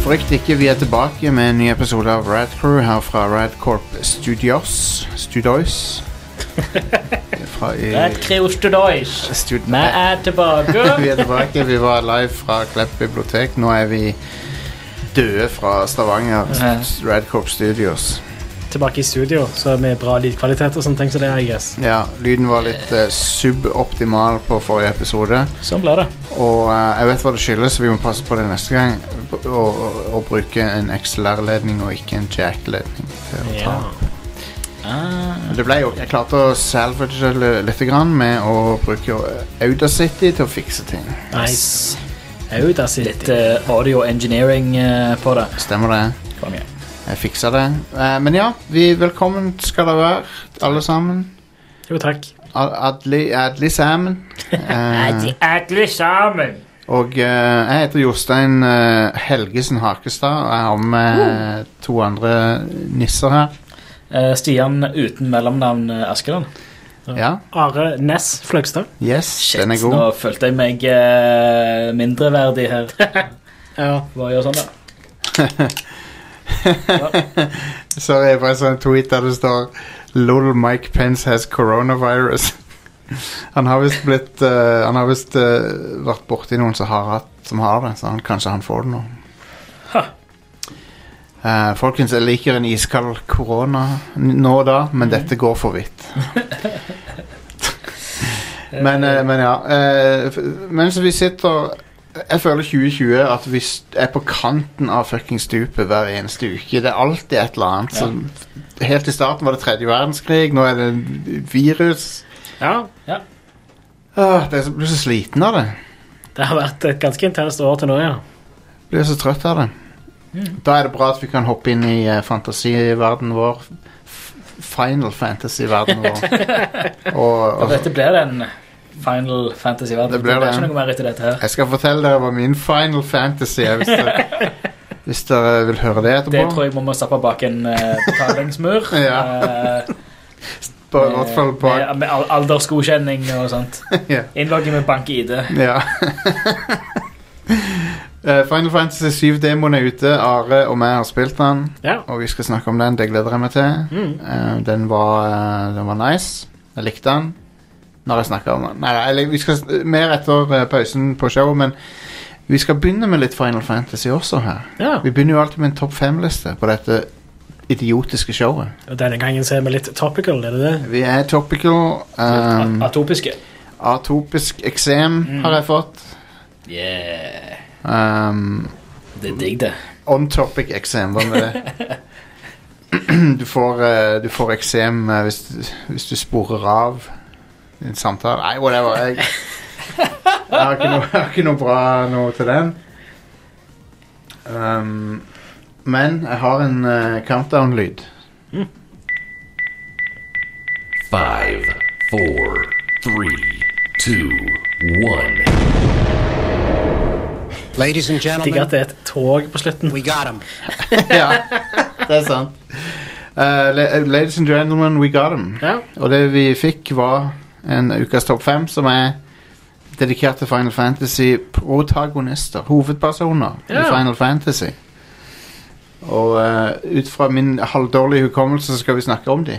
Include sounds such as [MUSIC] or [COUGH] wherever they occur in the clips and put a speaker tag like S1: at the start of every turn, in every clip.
S1: Frykt ikke, vi er tilbake med en ny episode av Rad Crew her fra Radcorp Studios. Studios. Fra, i-
S2: Red Crew Studios.
S1: Stud-
S2: Vi er
S3: [LAUGHS]
S2: tilbake.
S1: vi er tilbake. Vi var live fra Klepp bibliotek. Nå er vi døde fra Stavanger.
S2: Ja.
S1: Radcorp Studios.
S3: tilbake i studio, så med bra lydkvalitet og sånne ting. Så det er I guess.
S1: Ja, lyden var litt eh, suboptimal på forrige episode.
S3: Sånn ble det.
S1: Og eh, jeg vet hva det skyldes, så vi må passe på det neste gang. Og, og, og bruke en XLR-ledning og ikke en jack-ledning. til å ta
S3: Ja.
S2: Ah,
S1: Det ble jo, jeg klarte å salvage det litt grann med å bruke eh, Audacity til å fikse ting.
S3: Nice. Auda
S2: litt
S3: City.
S2: eh, audio engineering eh, på det.
S1: Stemmer det?
S2: Kom igjen.
S1: Jeg fiksa det. Eh, men ja, vi, velkommen skal dere være, alle sammen.
S3: Jo, takk.
S1: Ad- Adli, adli
S2: [LAUGHS]
S1: sammen. Eh,
S2: Alle sammen.
S1: og eh, jeg heter Jostein eh, Helgesen Hakestad, og jeg har med to andre nisser her.
S2: Eh, Stian uten mellomnavn eh, Askeland.
S1: Ja,
S3: Are Ness Fløgstad.
S1: yes,
S2: Shit,
S1: den er
S2: nå
S1: god.
S2: følte jeg meg eh, mindreverdig [LAUGHS] her.
S3: Ja.
S2: Hva gjør sånn, da?
S1: Sorry, jeg bare så en tweet der det står LOL Mike Pence has coronavirus. [LAUGHS] han har visst blitt eh, Han har visst eh, vært borti noen som har, hatt, som har det, så han, kanskje han får det nå. Eh, folkens, jeg liker en iskald korona n- nå og da, men dette går for vidt. [LAUGHS] men, eh, men ja eh, f- Mens vi sitter Jeg føler 2020 at vi s- er på kanten av fuckings stupet hver eneste uke. Det er alltid et eller annet.
S2: Ja.
S1: som- helt i starten var det tredje verdenskrig, nå er det virus.
S3: ja.
S1: Åh, det er så, blir så sliten av det.
S3: Det har vært et ganske intenst år til nå, ja.
S1: Blir så trøtt av det.
S2: Mm.
S1: Da er det bra at vi kan hoppe inn i eh, fantasiverdenen vår. F- Final fantasy-verdenen
S2: [LAUGHS]
S1: vår. og,
S2: Ja,
S1: og
S2: dette blir den Final Fantasy-verden.
S1: Det blir det.
S2: ikke noe mer etter dette her.
S1: jeg skal fortelle dere hva min final fantasy er, hvis dere, hvis dere vil høre det etterpå.
S2: Det tror jeg vi må stappe bak en eh, betalingsmur.
S1: [LAUGHS] Ja.
S2: Eh,
S1: På, i hvert fall på,
S2: Med, med al- aldersgodkjenning og sånt.
S1: [LAUGHS] Ja.
S2: Innlogging med bank-ID.
S1: Ja. [LAUGHS] Eh, Final Fantasy 7-demoen er ute. Are og meg har spilt den,
S3: ja.
S1: og vi skal snakke om den. Det gleder jeg meg til.
S3: Mm.
S1: Eh, den, var, eh, den var nice. Jeg likte den når jeg snakka om den. Nei, nei, jeg lik- vi skal s- mer etter eh, pausen på showet, men vi skal begynne med litt Final Fantasy også her.
S3: ja.
S1: Vi begynner jo alltid med en topp fem-liste på dette idiotiske showet.
S3: Og denne gangen så er vi litt topical, er det det?
S1: Vi er topical. ehm,
S2: At- Atopiske.
S1: atopisk eksem
S2: Mm.
S1: har jeg fått.
S2: Yeah.
S1: Ehm,
S2: Det er digg, det.
S1: on topic eksem, hva med det? Du får, eh, du får eksem eh, hvis, du- hvis du sporer av en samtale. Nei, whatever. Jeg, jeg, har ikke noe, jeg har ikke noe bra noe til den. Um, men jeg har en eh, countdown-lyd.
S4: Five, four, three, two, one.
S5: Ladies and
S3: Digger at
S5: gentlemen,
S3: det er et tog på slutten.
S5: we got him.
S1: ja, det er sant. Eh, la- ladies and gentlemen, we got them.
S3: Ja.
S1: Og det vi fikk var en ukas topp fem, som er dedikert til Final Fantasy-protagonister. Hovedpersoner i
S3: Ja.
S1: Final Fantasy. Og eh, ut fra min halvdårlige hukommelse så skal vi snakke om de.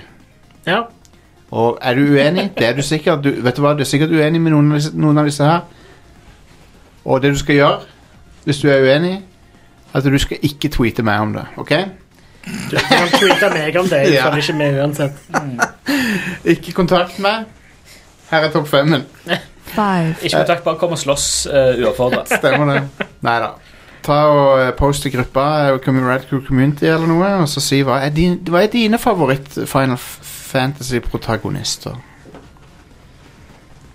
S3: ja.
S1: Og er du uenig? Det er du sikkert. Du, vet du hva, du er sikkert uenig med noen av, disse, noen av disse her. Og det du skal gjøre, hvis du er uenig, at du skal ikke tweete meg om det. ok?
S3: Du, du kan tweete meg om det. Jeg
S1: Ja.
S3: følger ikke med uansett.
S1: Ikke kontakt meg. Her er topp femmen.
S6: Five,
S2: Ikke kontakt, bare kom og slåss uh, uoppfordret.
S1: Stemmer det. Nei da. Ta og eh, Post i gruppa eh, Commu- Red Crew Community eller noe, og så si hva er, din, hva er dine favoritt-Final Fantasy-protagonister?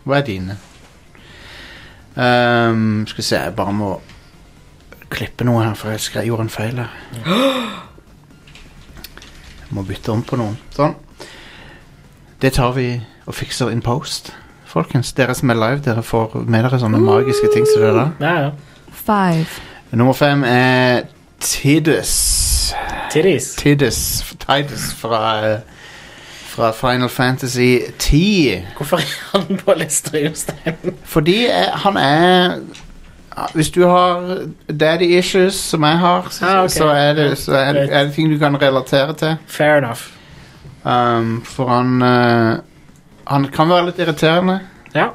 S1: Hva er dine? Ehm, skal vi se, jeg bare må klippe noe her, for jeg skrev, gjorde en feil her. Jeg må bytte om på noen. Sånn. Det tar vi og fikser in post. Folkens, dere som er live, dere får med dere sånne magiske ting som det der.
S3: Ja, ja.
S6: five,
S1: Nummer fem er Tidus.
S3: Titties.
S1: Tidus, Tidus fra, eh, fra Final Fantasy 10.
S3: Hvorfor er han på lista, Jostein?
S1: Fordi eh, han er ah, Hvis du har daddy issues, som jeg har, så,
S3: Ah, ok.
S1: så, er, det, så er, det, er det ting du kan relatere til.
S3: Fair enough.
S1: Um, for han eh, Han kan være litt irriterende.
S3: Ja.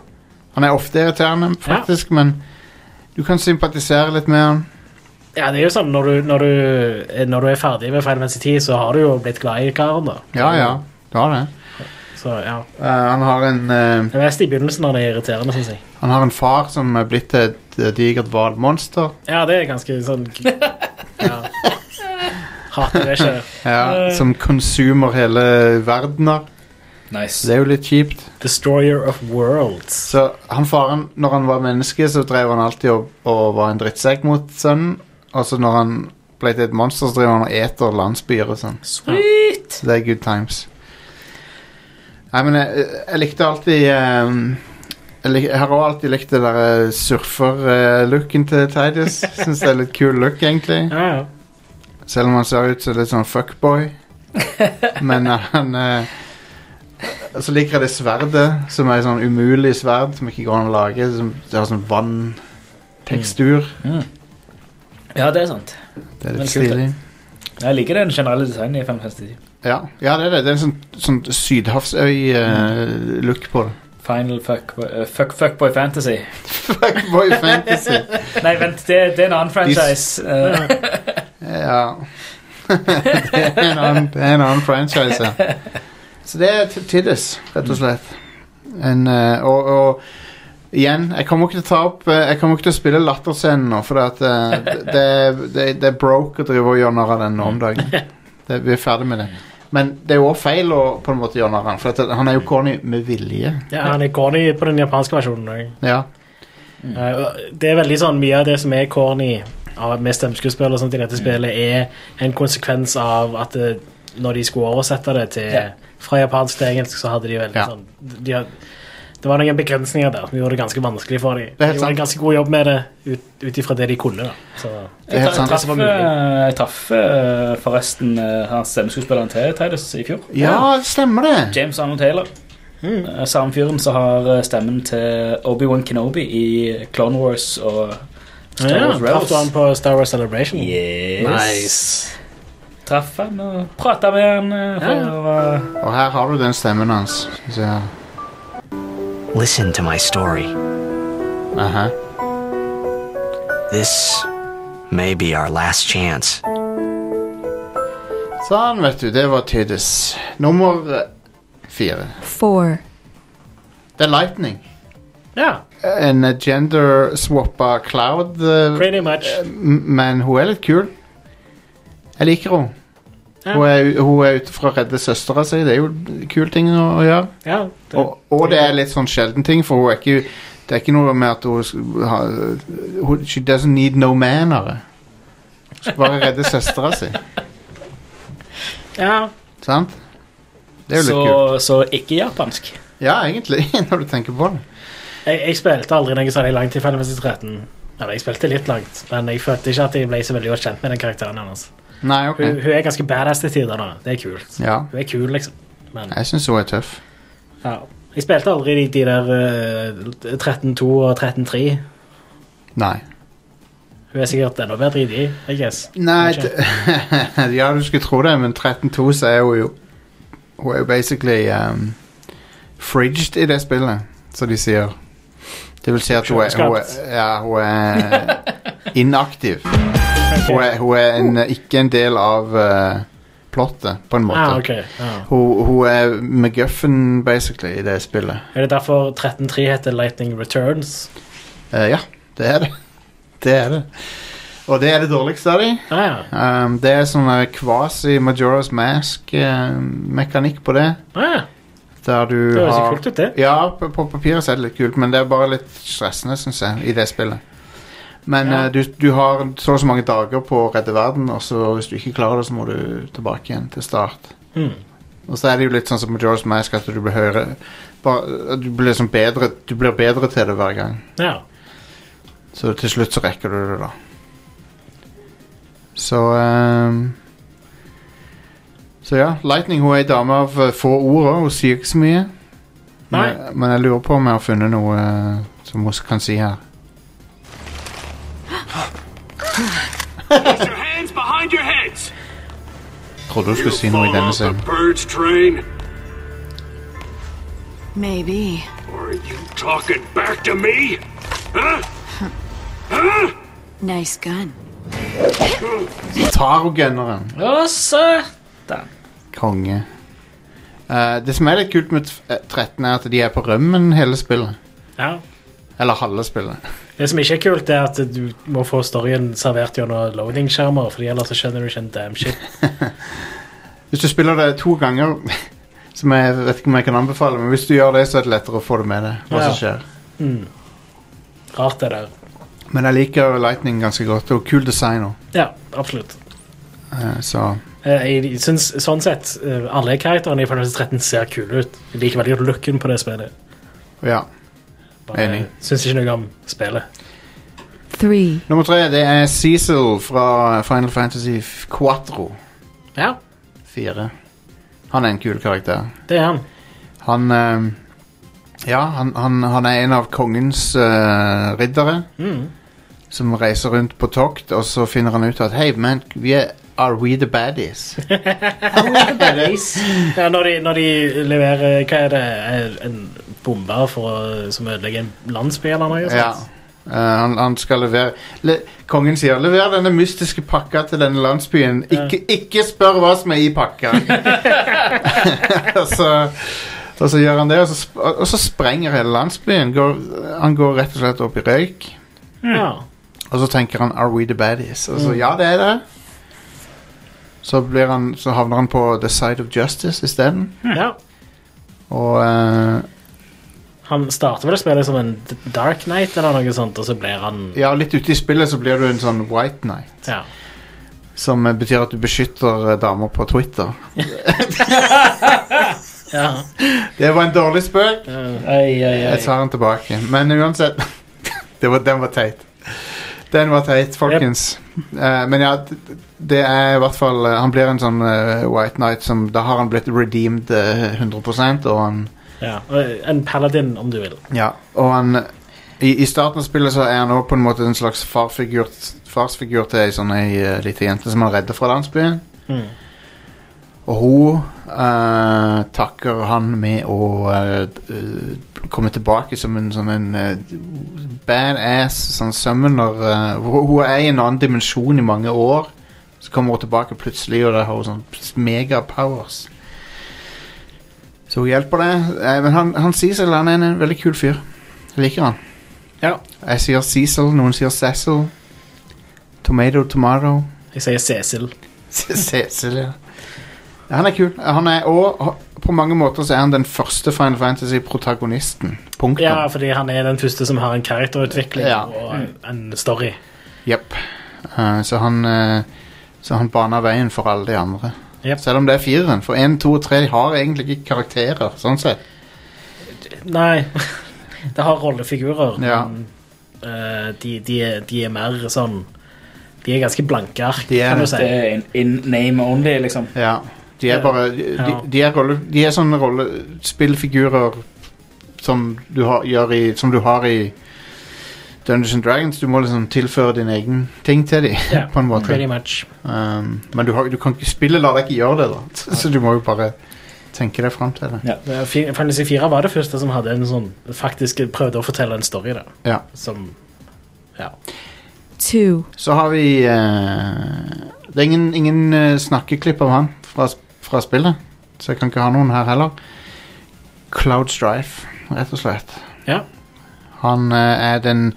S1: Han er ofte irriterende, faktisk, men du kan sympatisere litt med han.
S3: ja, det er jo sånn når du, når du, når du er ferdig med Final Fantasy 10, så har du jo blitt glad i karen, da.
S1: Ja, ja, du har det.
S3: Så ja.
S1: Eh, han, har en, eh,
S3: Det er mest i begynnelsen når det er irriterende, syns jeg.
S1: han har en far som er blitt et eh, digert hvalmonster.
S3: Ja, det er ganske [LAUGHS] sånn ja. Hater det skjer.
S1: Ja,
S3: Eh.
S1: som konsumer hele verdener. Det
S2: [LAUGHS] Nice.
S1: er jo litt kjipt.
S3: Destroyer of worlds.
S1: Så han faren, når han var menneske, så drev han alltid og, og var en drittsekk mot sønnen. Og så når han ble til et monster, så driver han og eter landsbyer og sånn.
S2: Sweet!
S1: Så det er good times. Nei, men jeg, jeg likte alltid eh, jeg, lik, jeg har også alltid likt det der eh, surfer-looken til Titus. Syns det er litt kul look, egentlig.
S3: Ja, ja.
S1: Selv om han ser ut som litt sånn
S2: [LAUGHS]
S1: fuckboy. Men eh, han eh, Så liker jeg det sverdet, som er sånn umulig sverd som ikke går an å lage. Som, det har sånn vanntekstur.
S2: Ja, det er sant.
S1: Det er
S2: Mm. Men
S1: litt
S2: kult, det.
S1: stilig.
S2: Jeg liker den generelle designen i 550.
S1: Ja, ja, det er det. Det er en sånn, sånn sydhavsøy-look på
S2: [LAUGHS]
S1: det.
S2: Final Fuckboy eh, fuck, Fuckboy Fantasy.
S1: Fuckboy fantasy.
S2: Nei, vent, det, det er en
S1: [LAUGHS]
S2: annen franchise. Eh,
S1: Ja. [LAUGHS] det, er en annen, det er en annen franchise, ja. Så det er T- Tiddis, rett og slett. En, eh, og, og igjen, jeg kommer ikke til å ta opp eh, Jeg kommer ikke til å spille Latterscenen nå, for det, at, eh, det, det- det, det er broke å drive og gjøre narr av den nå om dagen. Det, vi er ferdig med det. Men det er jo også feil å på en måte gjøre narr av han, for at han er jo corny med vilje.
S3: ja, han er corny på den japanske versjonen òg.
S1: Ja,
S3: Eh, Det er veldig sånn mye av det som er corny av- med stemmeskuespill og sånt i dette spillet, er en konsekvens av at det, når de skulle oversette det til
S2: Ja.
S3: fra japansk til engelsk, så hadde de veldig
S1: Ja.
S3: sånn de, had- Det var noen begrensninger der som gjorde det ganske vanskelig for dem.
S1: er
S3: De
S1: helt
S3: gjorde en ganske god jobb med det ut, ut ifra det de kunne. da. Så,
S1: det er
S2: jeg
S1: helt sant.
S2: tra- traff, eh, jeg traff eh, forresten eh, hans stemmeskuespilleren til Tidus i fjor.
S1: Ja, det stemmer det.
S2: James Arnold Taylor.
S1: Mm.
S2: Eh, Samme fyren som har eh, stemmen til Obi-Wan Kenobi i Clone Wars og Star
S3: ja,
S2: Wars
S3: traff du han
S2: Rebels.
S3: på Star Wars Celebration?
S2: Yes. Traff han og prata med han. eh,
S3: Ja, ja.
S2: for, eh,
S1: Og her har du den stemmen hans. Så, ja.
S5: Listen to my story.
S1: aha.
S5: This may be our last chance.
S1: Sånn, vet du. Det var Tiddis. Nummer eh, fire.
S6: 4.
S1: Det er Lightning.
S3: Ja,
S1: En eh, gender-swappa cloud. eh,
S3: pretty much.
S1: m- men hun er litt kul. Jeg liker henne.
S3: Ja.
S1: Hun, er, hun er ute for å redde søstera si. Det er jo kule ting å, å gjøre.
S3: Ja, det-
S1: Og, og det er litt sånn sjelden ting, for hun er ikke det er ikke noe med at hun, sk- ha, hun She doesn't need no mannere. Hun skal bare redde søstera si. [LAUGHS]
S3: ja.
S1: Sant? Det er jo litt kult.
S2: så, så ikke japansk.
S1: Ja, egentlig, [LAUGHS] når du tenker på det.
S3: Jeg, jeg spilte aldri noe særlig langt i Final Fantasy 13. Eller jeg spilte litt langt, men jeg følte ikke at jeg ble så veldig godt kjent med den karakteren hennes.
S1: Nei, ok.
S3: Hun, hun er ganske badass til tider, da. Det er kult.
S1: Ja,
S3: Hun er kul, liksom. Men
S1: jeg syns hun er tøff.
S3: ja. Jeg spilte aldri de, de der eh, 13-2 og 13-3.
S1: Nei.
S3: Hun er sikkert enda bedre i de, I guess.
S1: Nei
S3: Kanskje.
S1: d- Ja, du skulle tro det, [LAUGHS] men 13-2 så er hun jo Hun er jo basically um, fridged i det spillet, som de sier. Det vil si at hun er, hun er, ja, hun er inaktiv. Hun er, hun er en, ikke en del av eh, plottet, på en måte.
S3: Ah, ok. Ja.
S1: hun, hun er McGuffin, basically, i det spillet.
S3: Er det derfor 13-3 heter Lightning Returns?
S1: Eh, ja, det er det. [LAUGHS] Det er det. Og det er det dårligste av de.
S3: Ah, ja.
S1: Um, det er sånn quasi-Majora's Mask-mekanikk på det.
S3: Ah, ja.
S1: Der du
S3: Det høres jo
S1: har
S3: kult ut, det.
S1: Ja, på, på papiret så er det litt kult, men det er bare litt stressende, syns jeg, i det spillet. Men
S3: Ja.
S1: eh, du, du har så og så mange dager på å redde verden, og så hvis du ikke klarer det, så må du tilbake igjen til start.
S3: Mm.
S1: Og så er det jo litt sånn som Majora's Mask at du blir høyere bare, Du blir liksom bedre Du blir bedre til det hver gang.
S3: Ja.
S1: Så til slutt så rekker du det, da. Så ehm, Så ja, Lightning hun er ei dame av eh, få ord også. Hun sier ikke så mye. Men,
S3: Nei.
S1: men jeg lurer på om jeg har funnet noe eh, som hun kan si her.
S7: Put your hands behind your heads.
S1: Trodde du
S7: You
S1: skulle si noe i
S7: fall
S1: denne
S7: off the
S1: scenen.
S7: bird's train,
S6: Maybe.
S7: or are you talking back to me? Huh?
S6: Nice gun.
S1: Tarogunneren.
S2: Å, satan.
S1: Konge. Eh, det som er litt kult med t- eh, 13, er at de er på rømmen hele spillet.
S3: Ja.
S1: Eller halve spillet.
S3: Det som ikke er kult, er at du må få storyen servert gjennom loading-skjermer, Fordi ellers så skjønner du ikke en damn shit.
S1: Hvis du spiller det to ganger, [LAUGHS] som jeg vet ikke om jeg kan anbefale, men hvis du gjør det, så er det lettere å få det med deg. Hva som skjer.
S3: Hmm. Rart, det der.
S1: Men jeg liker Lightning ganske godt, og kul design òg.
S3: Ja, absolutt.
S1: så
S3: Eh, Jeg synes, sånn sett, eh, alle karakterene i Final Fantasy 13 ser kule ut. Jeg liker veldig godt looken på det spillet.
S1: ja. Enig.
S3: Bare syns ikke noe om spillet.
S6: Three.
S1: Nummer tre, det er Cecil fra Final Fantasy 4.
S3: Ja,
S1: Fire. Han er en kul karakter.
S3: det er han.
S1: Han eh, Ja, han, han, han er en av kongens eh, riddere. Som reiser rundt på tokt, og så finner han ut at Hei, men vi er Are we the baddies?
S3: [LAUGHS] Ja, når, de, når de leverer Hva er det? eh, En bombe for å, som ødelegger en landsby eller noe?
S1: ja.
S3: sånt?
S1: Eh, han, han skal levere le, Kongen sier 'lever denne mystiske pakka til denne landsbyen'. Ikke, ikke spør hva som er i pakka! og, så, og så gjør han det, og så, sp- og så sprenger hele landsbyen. Går, han går rett og slett opp i røyk.
S3: ja.
S1: Og så tenker han 'Are we the baddies?' Og så ja, det er det. Så, blir han, så havner han på The Side of Justice isteden.
S3: ja.
S1: Og eh,
S3: Han starter vel å spille som en D- Dark Knight eller noe sånt, og så blir han
S1: ja, litt ute i spillet så blir du en sånn White Knight.
S3: Ja.
S1: Som eh, betyr at du beskytter eh, damer på Twitter.
S3: ja.
S1: Det var en dårlig spøk.
S3: Eh,
S2: Ai, ai, ai.
S1: Jeg tar den tilbake. Men uansett [LAUGHS] det var, Den var teit. Den var teit, folkens. Eh, men ja, d- d- det er i hvert fall eh, Han blir en sånn eh, White Knight som Da har han blitt redeemed eh, 100 og han
S3: ja. Og En paladin, om du vil.
S1: Ja, og han i, I starten av spillet så er han også på en måte en slags farfigur, farsfigur til ei sånn ei eh, lita jente som han redder fra landsbyen.
S3: Mm.
S1: Og hun eh, takker han med å eh, d- eh, komme tilbake som en sånn en eh, badass sånn summoner. eh, hun, hun er i en annen dimensjon i mange år. Så kommer hun tilbake plutselig, og da har hun sånn megapowers. Så hun hjelper det. Eh, men han, han Cecil han er en, en veldig kul fyr. Jeg liker han.
S3: Ja.
S1: Jeg sier Cecil, noen sier Cecil. Tomato, tomato.
S3: Jeg sier Cecil.
S1: Cecil, ja. Ja, Han er kul. Han er, og på mange måter så er han den første Final Fantasy-protagonisten. Punktum.
S3: Ja, fordi han er den første som har en karakterutvikling
S1: Ja.
S3: og en, en story.
S1: Jep. Eh, så han eh, Så han baner veien for alle de andre.
S3: Jep.
S1: Selv om det er fireren. For én, to og tre har egentlig ikke karakterer. Sånn sett.
S3: Nei, [LAUGHS] det har rollefigurer,
S1: Ja.
S3: men eh, de, de, er- de er mer sånn De er ganske blanke ark,
S1: De er
S3: kan du
S1: det.
S3: si.
S2: Det er in, in name only, liksom.
S1: Ja. De er
S3: Ja.
S1: bare De,
S3: Ja.
S1: de, er, rolle, de er sånne rollespillfigurer som du har, gjør i, som du har i Dungeons and Dragons. Du må liksom tilføre din egen ting til dem,
S3: Ja,
S1: [LAUGHS] på en måte.
S3: Pretty much.
S1: Um, men du, har, du kan ikke spille lar deg ikke gjøre det, da. Så du må jo bare tenke deg fram til det.
S3: Eh, Fi- Fantasy 4 var det første som hadde en sånn faktisk prøvde å fortelle en story. da
S1: Ja.
S3: Som Ja.
S6: Two.
S1: Så har vi eh, Det er ingen, ingen eh, snakkeklipp av han fra, fra spillet, så jeg kan ikke ha noen her heller. Cloud Strife, rett og slett.
S3: Ja.
S1: Han eh, er den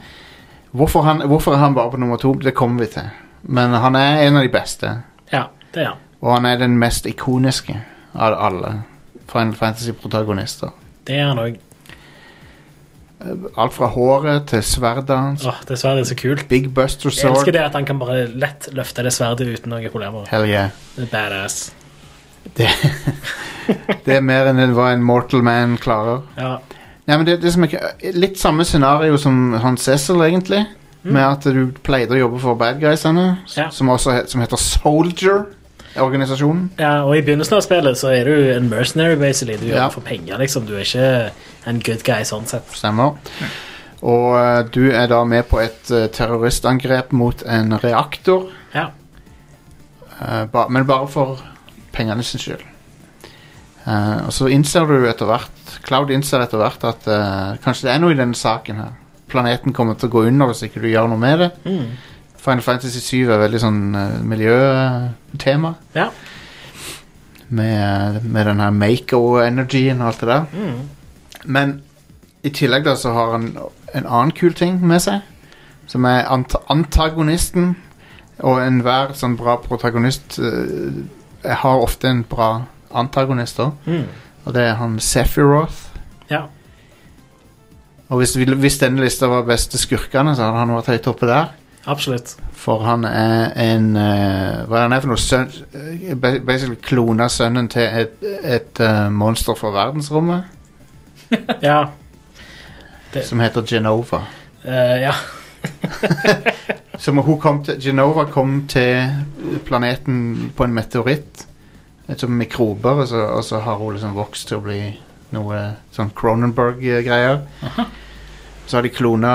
S1: hvorfor, han, hvorfor er han bare på nummer to? Det kommer vi til. Men han er en av de beste,
S3: ja det er han.
S1: og han er den mest ikoniske av alle Final Fantasy-protagonister.
S3: Det er han òg.
S1: Alt fra håret til sverdet hans.
S3: Åh, det sverdet er så kult.
S1: Big Buster
S3: Jeg elsker
S1: Sword.
S3: det at han kan bare lett løfte det sverdet uten noen problemer.
S1: Hell yeah.
S3: Det er Badass.
S1: Det, det er mer enn hva en mortal man klarer.
S3: Ja.
S1: Nei, men det, det som er, k- litt samme scenario som han Cecil, egentlig. Med at du pleide å jobbe for bad guysene, s-
S3: Mm. Ja.
S1: som også he, som heter Soldier. Organisasjonen.
S3: Ja, og i begynnelsen av spillet så er du en mercenary, basically. Du
S1: Ja.
S3: jobber for penger, liksom. Du er ikke en good guy sånn sett.
S1: Stemmer. Og eh, du er da med på et eh, terroristangrep mot en reaktor.
S3: Ja.
S1: Eh, ba, men bare for pengene sin skyld. Eh, og så innser du etter hvert Cloud innser etter hvert at eh, kanskje det er noe i denne saken her. Planeten kommer til å gå under hvis ikke du gjør noe med det.
S3: Mm.
S1: Final Fantasy 7 er veldig sånn eh, miljøtema.
S3: Ja.
S1: Med, med den her Mako-energien og alt det der.
S3: Mm.
S1: Men i tillegg da så har han en annen kul ting med seg. Som er ant antagonisten. Og enhver sånn bra protagonist eh, har ofte en bra antagonist òg.
S3: Mm.
S1: Og det er han Sephiroth.
S3: Ja.
S1: Og hvis, vi- hvis denne lista var beste skurkene, så hadde han vært høyt oppe der.
S3: Absolutt.
S1: For han er en eh, Hva er han er for noe? Sønn, eh, ba- basically klona sønnen til et, et eh, monster fra verdensrommet
S3: Ja.
S1: som heter Genova.
S3: eh, ja.
S1: Som hun kom til, Genova kom til planeten på en meteoritt. Et sånt mikrober, og så, og så har hun liksom vokst til å bli noe sånn Cronenberg-greier. Så har de klona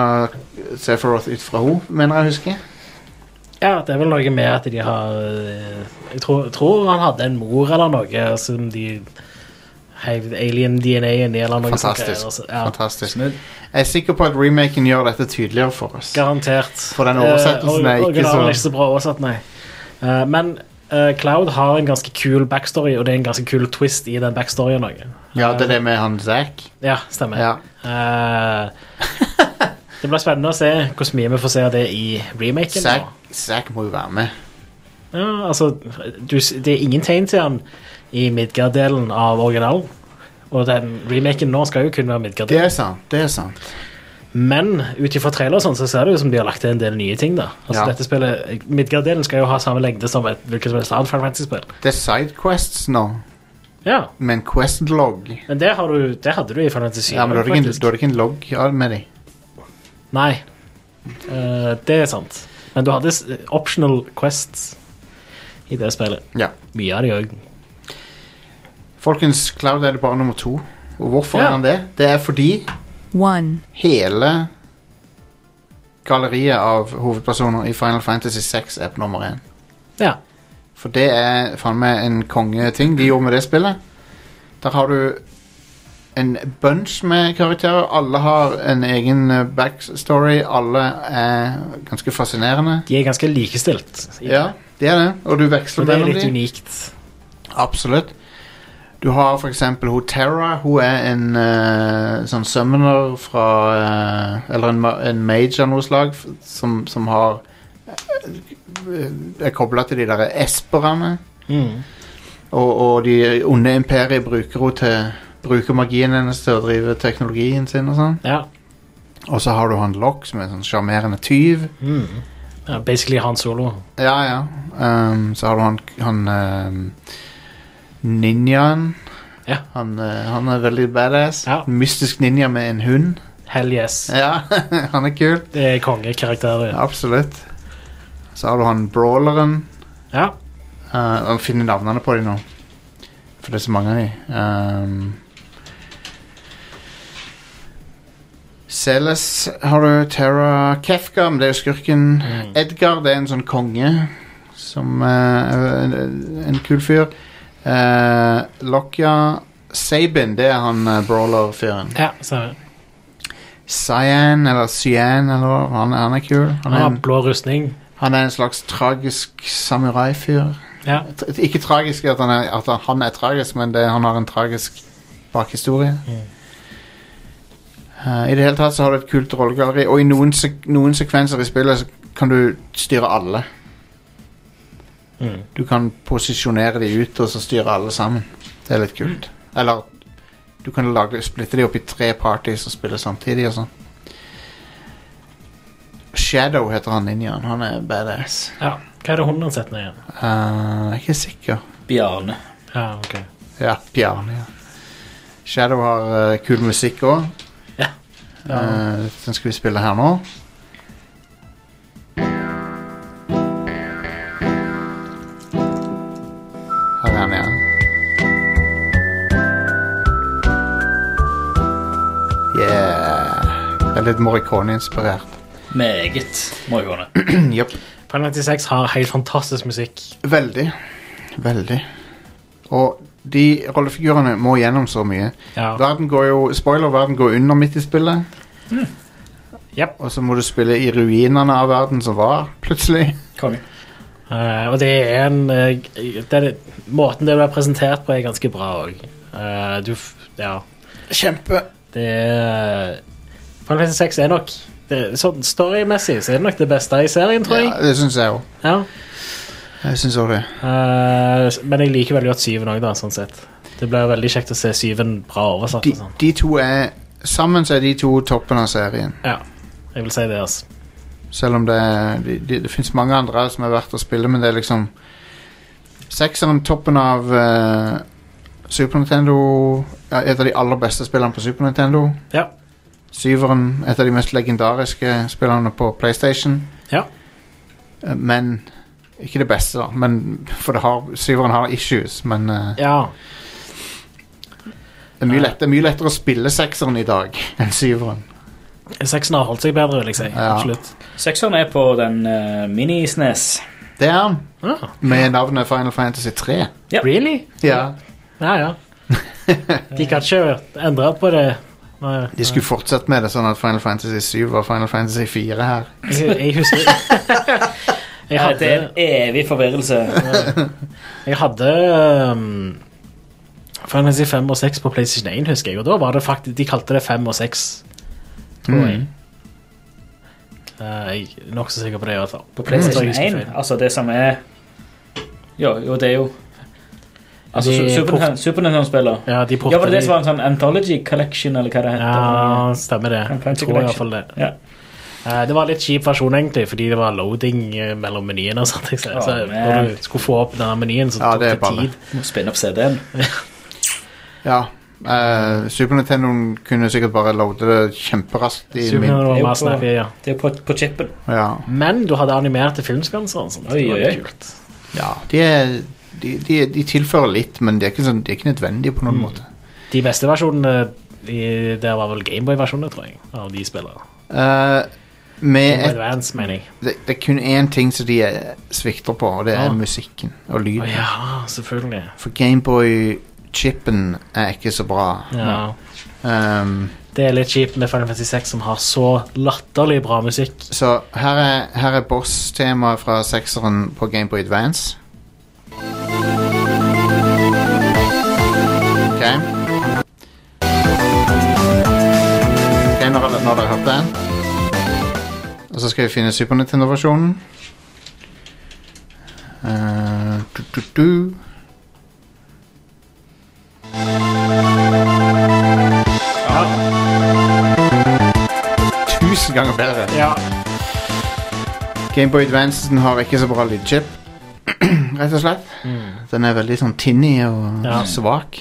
S1: Sephiroth ut fra henne, mener jeg å huske.
S3: ja, det er vel noe med at de har eh, Jeg tror, tror han hadde en mor eller noe som de heiv alien DNA inn i eller noe sånt.
S1: Fantastisk.
S3: sånn greier, så- Ja,
S1: Fantastisk.
S2: Snudd.
S1: Jeg er sikker på at remaken gjør dette tydeligere for oss.
S3: garantert.
S1: For den oversettelsen
S3: Eh,
S1: er ikke
S3: originalen
S1: så-
S3: er ikke så bra oversatt, nei. Eh, men eh, Cloud har en ganske kul backstory, og det er en ganske kul twist i den backstoryen. også.
S1: Ja, det er det med han Zack.
S3: Ja, stemmer.
S1: Ja.
S3: Eh, [LAUGHS] det blir spennende å se hvor mye vi får se av det i remaken.
S1: Zack,
S3: nå.
S1: Zack må jo være med.
S3: Ja, altså, du, s- det er ingen tegn til han i Midgard-delen av originalen. Og den remaken nå skal jo kun være Midgard.
S1: Det er sant. det er sant
S3: Men ut ifra trailer og sånn, så ser det ut som de har lagt til en del nye ting. da. Altså,
S1: Ja.
S3: dette spillet, Midgard-delen skal jo ha samme lengde som et hvilket som helst annet Final Fantasy-spill.
S1: Det er sidequests nå,
S3: Ja,
S1: med en questlog.
S3: men det, har du, det hadde du i Final Fantasy 7.
S1: Ja, men da er det ikke en-
S3: faktisk.
S1: da er det ikke en log av- med dem.
S3: Nei, Eh, det er sant. Men du hadde s- optional quests i det spillet.
S1: Ja.
S3: Mye av det òg.
S1: Folkens, Cloud er det bare nummer to. Og hvorfor
S3: Ja.
S1: er han det? Det er fordi
S6: one,
S1: hele galleriet av hovedpersoner i Final Fantasy 6 er på nummer én.
S3: Ja.
S1: For det er faen meg en kongeting de gjorde med det spillet. Der har du en bunch med karakterer. Alle har en egen eh, backstory. Alle er ganske fascinerende.
S3: De er ganske likestilt. i det.
S1: Ja, det er det. Og du
S3: Så
S1: veksler
S3: det er
S1: mellom
S3: litt
S1: dem.
S3: unikt.
S1: Absolutt. Du har for eksempel hun Terra. Hun er en eh, sånn summoner fra eh, Eller en, ma- en mage av noe slag f- som, som har eh, Er kobla til de der esperne.
S3: Mm.
S1: Og, og de onde imperiet bruker hun til Bruker magien hennes til å drive teknologien sin og sånn.
S3: Ja.
S1: Og så har du han Lock, som er en sånn sjarmerende tyv.
S3: Mm. ja. Basically Han Solo.
S1: Ja, ja. Ehm, så har du han, han ehm, ninjaen.
S3: Ja.
S1: Han, eh, han er veldig badass.
S3: Ja.
S1: Mystisk ninja med en hund.
S3: Hell yes.
S1: Ja, [LAUGHS] han er kul.
S3: Det er kongekarakterer. Ja.
S1: Absolutt. Så har du han brawleren.
S3: ja.
S1: Uh, jeg finner navnene på dem nå. For det er så mange av dem. Um, Celes har du. Terra Kefka, men det er jo skurken. Edgar, det er en sånn konge. Som eh, er en, en kul fyr. Uh, Lokya Sabin, det er han eh, brawler-fyren.
S3: ja så,
S1: Cyan, eller Cyan, eller hva. Han, han er kul.
S3: han
S1: Han er,
S3: har
S1: en,
S3: blå rustning.
S1: han er en slags tragisk samurai-fyr.
S3: Ja.
S1: Tra- Ikke tragisk at han er, at han er tragisk, men det, han har en tragisk bakhistorie. Eh, I det hele tatt så har du et kult rollegalleri, og i noen, sek noen sekvenser i spillet så kan du styre alle.
S3: Mm.
S1: Du kan posisjonere de ut, og så styre alle sammen. Det er litt kult. Eller du kan lage, splitte de opp i tre parties og spille samtidig og sånn. Shadow heter han ninjaen. Han er badass.
S3: ja. Hva er det hunden hans heter igjen?
S1: Eh, jeg er ikke sikker.
S2: Bjarne.
S3: Ja, ok.
S1: Ja, Bjarne, ja. Shadow har eh, kul musikk òg.
S3: Ja.
S1: den skal vi spille her nå. Her er den, ja. Yeah. Det er litt Morricone-inspirert.
S2: Meget morgende.
S1: Jepp.
S3: Prime 96 har helt fantastisk musikk.
S1: Veldig. Veldig. Og de rollefigurene må gjennom så mye.
S3: Ja.
S1: Verden går jo, spoiler, verden går under midt i spillet.
S3: Mm. Jep.
S1: Og så må du spille i ruinene av verden som var, plutselig.
S2: Konge.
S3: Eh, og det er en eh, det er, Måten det blir presentert på, er ganske bra òg. du f- Ja.
S1: Kjempe.
S3: Det er Final Fantasy 6 er nok det, sånn Storymessig så er det nok det beste i serien, tror
S1: Ja,
S3: jeg.
S1: det syns jeg òg.
S3: Ja.
S1: Jeg syns òg det.
S3: Eh, men jeg liker veldig godt syven òg, da, sånn sett. Det blir veldig kjekt å se syven bra oversatt.
S1: De,
S3: og sånn.
S1: de to er Sammen så er de to toppen av serien.
S3: Ja, jeg vil si det, altså.
S1: Selv om det, er- de, de, det fins mange andre som er verdt å spille, men det er liksom Sekseren, toppen av eh, Super Nintendo ja, Et av de aller beste spillene på Super Nintendo.
S3: Ja.
S1: Syveren, et av de mest legendariske spillene på PlayStation.
S3: Ja.
S1: Eh, Men ikke det beste, da. Men, for det har, syveren har issues, men eh,
S3: ja.
S1: det, er mye lett, det er mye lettere å spille sekseren i dag [LAUGHS] enn syveren.
S3: Sexen har holdt seg bedre, vil jeg si.
S1: Ja.
S3: Absolutt.
S2: Sekseren er på den eh, mini-snes.
S1: Det er han,
S3: Ah,
S1: med navnet Final Fantasy 3.
S2: Ja.
S3: Really?
S1: Ja,
S3: Ja, ja. De kan ikke endre på det. Nei,
S1: De skulle fortsette med det, sånn at Final Fantasy 7 var Final Fantasy 4 her.
S3: jeg, jeg husker jeg
S2: Ja, det
S3: hadde,
S2: er en evig forvirrelse.
S3: jeg hadde um, Final Fantasy 5 og 6 på PlayStation 1, husker jeg. Og da var det faktisk De kalte det 5 og 6, tror jeg. Eh, jeg er nokså sikker på det. i hvert fall.
S2: På PlayStation
S3: Mm.
S2: 1, altså det som er Jo, jo det er jo Altså
S3: De
S2: Su- Super
S3: port-
S2: Nintendo- Super Nintendo-spiller.
S3: Ja, de
S2: Ja, var det det som
S3: de-
S2: var en sånn Anthology Collection, eller hva det heter?
S3: Ja, stemmer det.
S2: Final
S3: Jeg
S2: Fantasy
S3: tror i hvert
S2: Collection.
S3: fall det.
S2: Ja.
S3: Eh, Det var litt kjip versjon, egentlig, fordi det var loading eh, mellom menyene. og sånt, ikke sant? Så
S2: Å, man.
S3: når du skulle få opp denne menyen, så
S1: Ja,
S3: tok
S1: det
S3: det,
S1: er balle.
S3: tid.
S2: Må spinne opp CD-en.
S1: Ja. eh, Super Nintendoen kunne sikkert bare loade det kjemperaskt i
S3: Super
S1: min.
S3: Nintendo
S2: Det er jo
S3: var
S2: på-
S3: snappy, ja.
S2: Det er jo på, på chipen.
S1: Ja.
S3: Men du hadde animerte filmskanser. og sånt.
S2: Oi,
S3: Det var
S2: oi, oi.
S3: kult.
S1: ja de, er, de, de, de tilfører litt, men de er ikke, sånn, de er ikke nødvendige på
S3: Mm.
S1: noen måte.
S3: De beste versjonene eh, i- der var vel Gameboy-versjonene, tror jeg. Av de spillene.
S1: Eh,
S3: Game
S1: med
S3: Boy
S1: et,
S3: Advance, mener jeg.
S1: det, det er kun én ting som de eh, svikter på, og det er
S3: Ja.
S1: musikken og
S3: Å
S1: lyden.
S3: Ah. ja, selvfølgelig.
S1: For Gameboy-chipen er ikke så bra.
S3: Ja.
S1: Ehm,
S3: Det er litt kjipt med Final Fantasy 6, som har så latterlig bra musikk.
S1: så her er, her er boss-temaet fra sekseren på Gameboy Advance. Ok. Ok, Når har dere når har dere hørt den Og så skal vi finne Super Nintendo-versjonen. Eh, du, du, du. Tusen ganger bedre.
S3: Ja.
S1: Gameboy Advancen har ikke så bra lydchip, [CLEARS THROAT] rett og slett. Den er veldig sånn tinny og
S3: Mm. Ja.
S1: svak.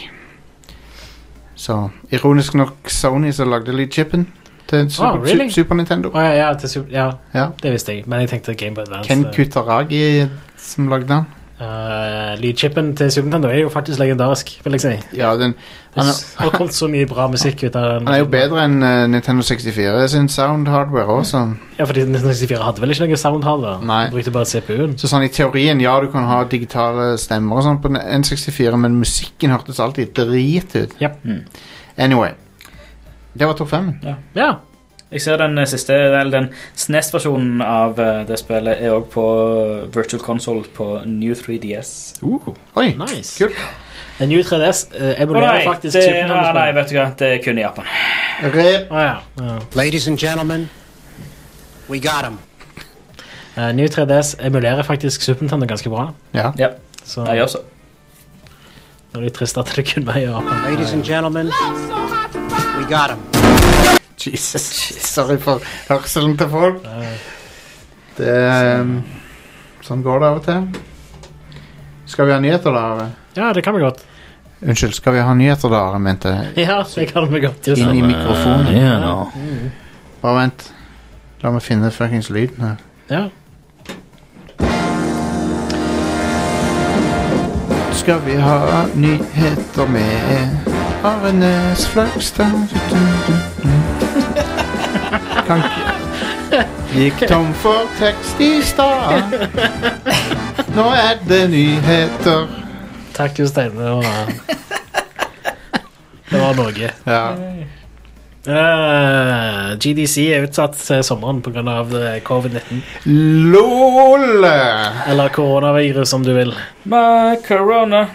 S1: Så ironisk nok Sony som lagde lydchipen til Super,
S3: Oh, really?
S1: Su- Super Nintendo.
S3: Å ja, ja, til Super, ja,
S1: Ja.
S3: det visste jeg, men jeg tenkte Gameboy Advance.
S1: Ken
S3: det-
S1: Kutaragi som lagde den.
S3: Eh, lydchipen til Super Nintendo er jo faktisk legendarisk, vil jeg si.
S1: Ja, den
S3: Det
S1: han er,
S3: har kommet så mye bra musikk ut av den.
S1: han er jo bedre enn eh, Nintendo 64 sin sound hardware også.
S3: Ja, fordi 1964 hadde vel ikke noe sound hardware.
S1: Nei.
S3: De Brukte bare CPU-en.
S1: Så sånn i teorien, ja, du kan ha digitale stemmer og sånn på N64, men musikken hørtes alltid drit ut.
S3: Ja.
S2: Mm.
S1: Anyway. Det var topp fem.
S3: Ja.
S2: Jeg ser den eh, siste, eller den SNES-versjonen av eh, det spillet er også på eh, Virtual Console på New 3DS.
S1: Oi,
S3: Nice.
S1: kult.
S3: Den New 3DS eh,
S2: Å
S3: emulerer
S2: nei,
S3: faktisk
S2: det,
S3: Super
S2: ah, nei,
S3: Nintendo.
S2: vet du hva, det er kun i Japan.
S1: Re
S3: Å ja. ja.
S5: Ladies and gentlemen, we got him.
S3: Eh, New 3DS emulerer faktisk Super Nintendo ganske bra.
S1: Ja.
S2: Ja,
S3: Så
S2: jeg også.
S3: det er litt trist at det kun var i Japan.
S5: Ladies and gentlemen, we got him.
S1: Jesus. Sorry for hørselen til folk. Det er, um, Sånn går det av og til. Skal vi ha nyheter, da? Are?
S3: Ja, det kan vi godt.
S1: Unnskyld, skal vi ha nyheter, da, Are, mente jeg.
S3: Ja, det kan vi godt. Just.
S1: Inn i mikrofonen.
S8: Yeah, no.
S1: Bare vent. La meg finne fuckings lyden her.
S3: Ja.
S1: Skal vi ha nyheter med Arnes Flagstad? Kan ikke- Gikk tom for tekst i stad. Nå er det nyheter.
S3: Takk, Jostein. Det
S1: [LAUGHS]
S3: var, det var noe.
S1: Ja.
S3: Eh, GDC er utsatt til sommeren pga. eh, covid-19.
S1: LOL!
S3: Eller koronavirus, om du vil.
S2: My corona.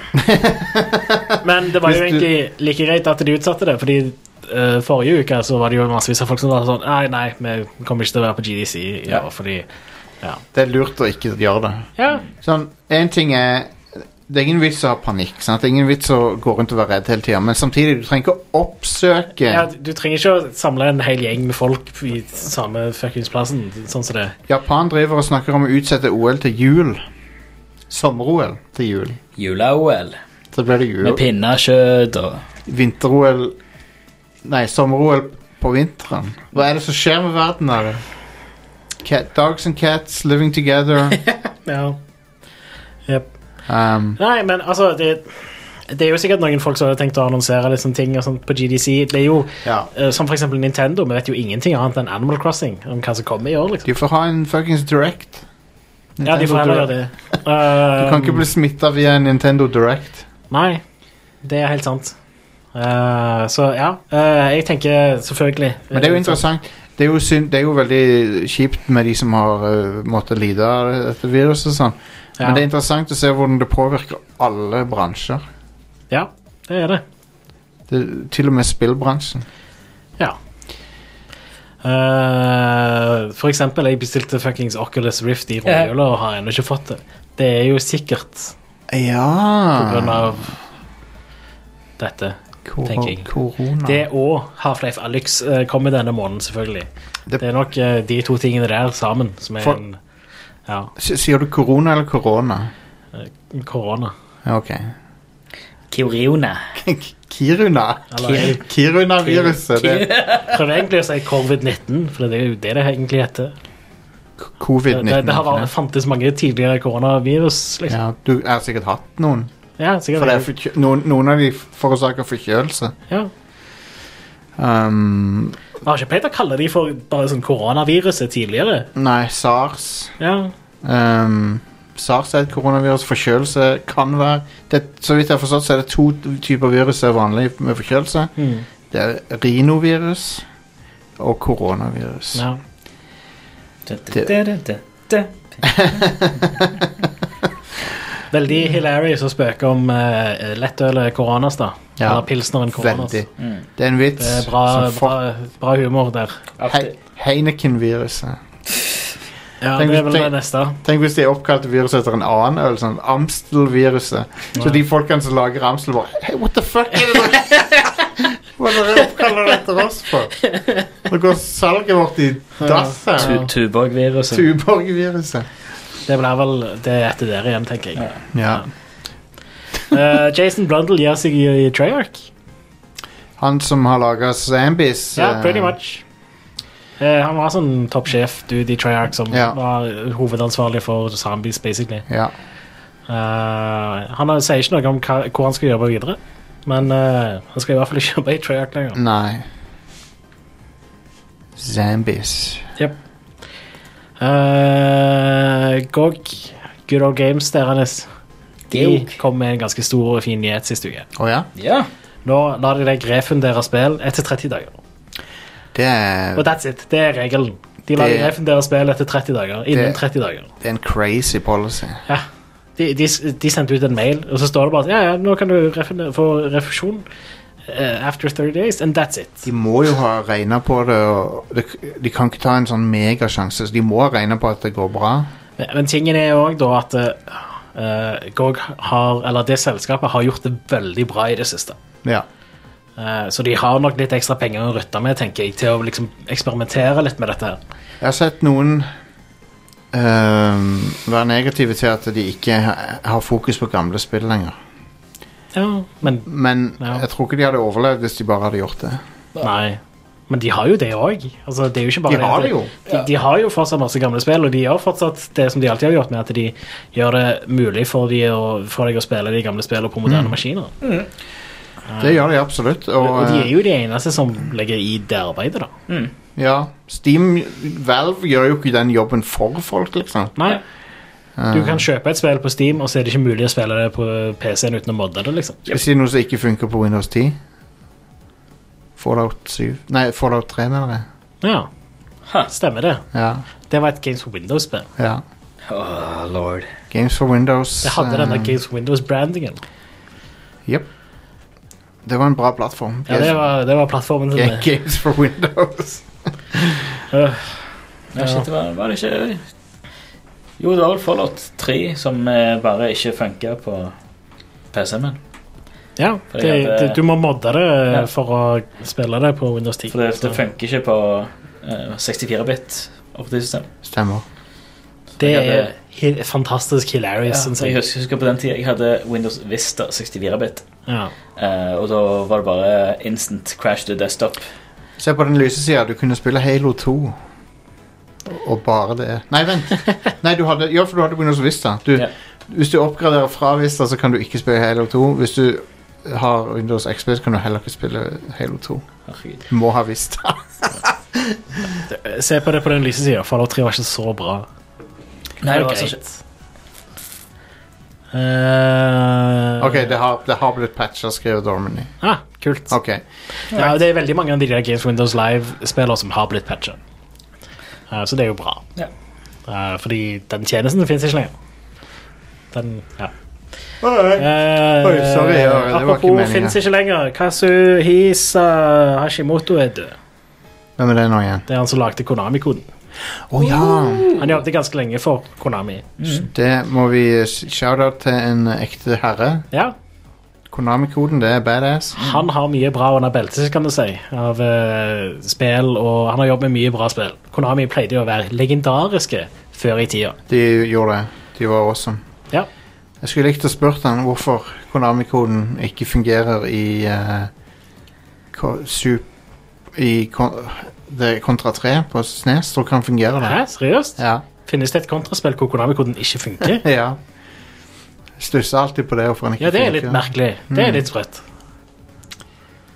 S3: Men det var jo
S1: Hvis du-
S3: egentlig like greit at de utsatte det, fordi eh, forrige uke så var det jo massevis av folk som var sånn Nei, nei, vi kommer ikke til å være på GDC i
S1: Ja.
S3: år, fordi
S1: Det er lurt å ikke gjøre det.
S3: Ja.
S1: Sånn, en ting er Det er ingen vits å ha panikk. Sant? Det er ingen vits å gå rundt og være redd hele tida. Men samtidig, du trenger ikke å oppsøke
S3: ja, du trenger ikke å samle en hel gjeng med folk i samme fuckings plassen, sånn som det.
S1: Japan driver og snakker om å utsette OL til jul. Sommer-OL til jul.
S2: Jula-OL.
S1: Så ble det jul.
S2: Med pinnekjøtt og
S1: Vinter-OL Nei, sommer-OL på vinteren. Hva er det som skjer med verden her? Cat, dogs and cats living together.
S3: Ja.
S1: Um,
S3: Nei, men altså, det, det er jo sikkert noen folk som har tenkt å annonsere litt sånne ting og sånt på GDC. Det er jo
S1: ja.
S3: eh, som for eksempel Nintendo, vi vet jo ingenting annet enn Animal Crossing om hva som kommer i år, liksom.
S1: De får ha en fuckings direct.
S3: Ja, de får heller
S1: [LAUGHS]
S3: gjøre det. Eh, Um,
S1: Du kan ikke bli smitta via en Nintendo Direct.
S3: Nei, det er helt sant. Eh, så ja, eh, jeg tenker selvfølgelig eh,
S1: Men det er jo
S3: sånn.
S1: interessant. Det er jo, synd, det er jo veldig kjipt med de som har eh, måttet lide av dette viruset. og Sånn.
S3: Ja.
S1: Men det er interessant å se hvordan det påvirker alle bransjer.
S3: Ja, det er det.
S1: Det, til og med spillbransjen.
S3: Ja. Eh, for eksempel, jeg bestilte fuckings Oculus Rift i romjula og har ennå ikke fått det. Det er jo sikkert
S1: Ah.
S3: på grunn
S1: Ja
S3: av dette,
S1: Kor
S3: tenker jeg.
S1: Korona.
S3: Det og Half-Life Alyx eh, kommer denne måneden, selvfølgelig.
S1: Det-
S3: Det, er nok eh, de to tingene der sammen som er
S1: For-
S3: en Ja,
S1: S- Sier du korona eller korona?
S3: korona.
S1: Ja, Ok.
S2: Kioriona.
S1: [LAUGHS] Kiruna.
S3: Eller-
S1: Ki- Kiruna-viruset. Det
S3: Prøver egentlig å si covid-19, for det er jo det det egentlig heter.
S1: er
S3: Det,
S1: covid-19.
S3: det, det har vært, fantes mange tidligere koronavirus, liksom.
S1: Ja, du har sikkert hatt noen.
S3: Ja,
S1: For
S3: sikkert.
S1: det er forkjø- noen, noen av de forårsaker forkjølelse.
S3: ja.
S1: Um,
S3: Jeg har ikke pleid å kalle de for bare sånn koronaviruset tidligere.
S1: nei, sars
S3: Ja.
S1: um, Sars er et koronavirus. Forkjølelse kan være det, Så vidt jeg har forstått, så er det to typer virus som er vanlig med forkjølelse.
S3: Mm.
S1: Det er rinovirus og koronavirus.
S3: ja. Veldig hilarious å spøke om eh, lettølet Coronas, da.
S1: Ja.
S3: Eller pilsneren Coronas.
S1: Veldig.
S2: Mm.
S1: Det er en vits.
S3: altså. Det er bra,
S1: som
S3: bra,
S1: folk-
S3: bra humor der.
S1: Hei- Heineken-viruset.
S3: Ja,
S1: Tenk-
S3: det er vel
S1: tenk-
S3: det neste.
S1: Tenk hvis de oppkalte viruset etter en annen øl, sånn Amstel-viruset. Så de folkene som lager Amstel, bare Hey, what the fuck er det dere
S3: [LAUGHS]
S1: Hva er det dere oppkaller det etter oss for? Nå går salget vårt i dass her.
S2: Tu- Tuborg-viruset.
S1: Tuborg-viruset.
S3: Det blir vel det etter der igjen, tenker jeg.
S1: Ja.
S3: Eh, Jason Blundell gir seg i, i Treyarch.
S1: Han som har laga Zambis.
S3: Ja,
S1: eh,
S3: pretty much. Eh, han var sånn toppsjef-dude i Treyarch som
S1: Ja.
S3: var hovedansvarlig for zombies, basically.
S1: Ja.
S3: Eh, han har- sier ikke noe om hva, hvor han skal jobbe videre, men eh, han skal i hvert fall ikke jobbe i Treyarch lenger.
S1: Nei. Zambis.
S3: Eh, GOG, Good Old Games, deres, de
S2: Geog.
S3: kom med en ganske stor og fin nyhet sist uke.
S1: Å ja?
S2: Ja.
S3: Nå lar de deg refundere spill etter 30 dager.
S1: Det er,
S3: Og that's it. Det er regelen. De lar
S1: Det-
S3: deg refundere spill etter 30 dager. Innen
S1: Det-
S3: 30 dager.
S1: det er en crazy policy.
S3: de, de, de sendte ut en mail, og så står det bare at ja, ja, nå kan du refun- få refusjon eh, after 30 days, and that's it.
S1: De må jo ha regna på det, og de, de kan ikke ta en sånn megasjanse, så de må regne på at det går bra.
S3: Men, men tingen er jo òg da at eh, GOG har, eller det selskapet har gjort det veldig bra i det siste.
S1: Ja.
S3: Eh, så de har nok litt ekstra penger å rutte med, tenker jeg, til å liksom eksperimentere litt med dette. her.
S1: Jeg har sett noen ehm, være negative til at de ikke ha- har fokus på gamle spill lenger.
S3: Ja, men
S1: Men
S3: Ja.
S1: jeg tror ikke de hadde overlevd hvis de bare hadde gjort det.
S3: nei. Men de har jo det òg. Altså, det er jo ikke bare
S1: De har
S3: at-
S1: det jo.
S3: De, de har jo fortsatt masse gamle spill, og de gjør fortsatt det som de alltid har gjort, med at de gjør det mulig for, de å, for deg å spille de gamle spillene på moderne
S2: Mm.
S3: maskiner.
S1: Det gjør de absolutt. Og,
S3: Og de er
S1: eh,
S3: jo de eneste som legger i det arbeidet, da.
S1: Ja. Steam Valve gjør jo ikke den jobben for folk, liksom.
S3: Nei. Du kan kjøpe et spill på Steam, og så er det ikke mulig å spille det på PC-en uten å modde det. liksom
S1: Skal vi si noe som ikke funker på Windows 10? Fallout 7 Nei, Fallout 3, mener jeg.
S3: Ja,
S2: Huh.
S3: Stemmer det.
S1: Ja.
S3: Det var et Games for Windows-spill.
S1: ja.
S2: Oh, lord.
S1: Games for Windows.
S3: Det hadde den der
S1: eh,
S3: Games for Windows-brandingen.
S1: Jep. Det var en bra plattform.
S3: Ja, det var, det var plattformen til
S1: Ga-
S3: det.
S1: Games for Windows.
S2: Ja, shit, det var, var det ikke Jo, det var vel Fallout 3 som eh, bare ikke funka på PC-en min.
S3: Ja,
S2: For
S3: det,
S2: jeg hadde-
S3: det, du må modde det
S2: Ja.
S3: for å spille det på Windows 10.
S2: For det, det
S3: Så
S2: funker ikke på eh, 64-bit operativsystem.
S1: Stemmer.
S3: det
S2: jeg
S3: er
S2: hadde-
S3: hi- fantastisk
S2: Ja,
S3: hilarious, synes
S2: jeg
S3: jeg.
S2: husker, husker på den tida jeg hadde Windows Vista 64-bit.
S3: Ja.
S2: eh, og da var det bare instant crash to desktop.
S1: Se på den lyse sida. Du kunne spille Halo 2. Og bare det. Nei, vent. Nei, du hadde, ja, for du hadde Windows Vista. Du,
S2: Ja.
S1: Hvis du oppgraderer fra Vista, så kan du ikke spille Halo 2. Hvis du har Windows XP, så kan du heller ikke spille Halo 2.
S2: Herregud.
S1: Du må ha Vista.
S3: Se på det på den lyse sida. Fallout 3 var ikke så bra.
S2: Nei, det var
S3: Ok.
S2: så shit.
S3: Eh,
S1: Ok, det har, det har blitt patcha, skriver Dormany.
S3: ah, kult.
S1: Ok.
S3: Ja, det er veldig mange av de der Games Windows Live-spillere som har blitt patcha. Eh, så det er jo bra.
S2: Ja.
S3: Eh, fordi den tjenesten fins ikke lenger. Den, ja. Eh,
S1: Oi, sorry, ja, det var ikke
S3: apropos
S1: meningen.
S3: fins ikke lenger. Kasuhisa Hashimoto er død.
S1: Hvem er det nå igjen?
S3: Det er han som lagde Konami-koden.
S1: Å ja!
S3: Han jobbet ganske lenge for Konami.
S1: Det må vi eh, shout-out til en ekte herre.
S3: Ja,
S1: Konami-koden, det er badass.
S3: Han har mye bra under beltet, kan du si, av eh, spill, og han har jobbet med mye bra spill. Konami pleide jo å være legendariske før i tida.
S1: De gjorde det. De var awesome.
S3: Ja.
S1: Jeg skulle likt å spørre han hvorfor Konami-koden ikke fungerer i eh, ko- sup, I kon det kontra 3 på Snes. Tror ikke han fungerer der.
S3: Hæ, seriøst?
S1: Ja.
S3: Finnes det et kontraspill hvor Konami-koden ikke funker?
S1: ja. Stusser alltid på det. Hvorfor han ikke
S3: Ja, det er litt
S1: funker.
S3: merkelig. Det er litt sprøtt.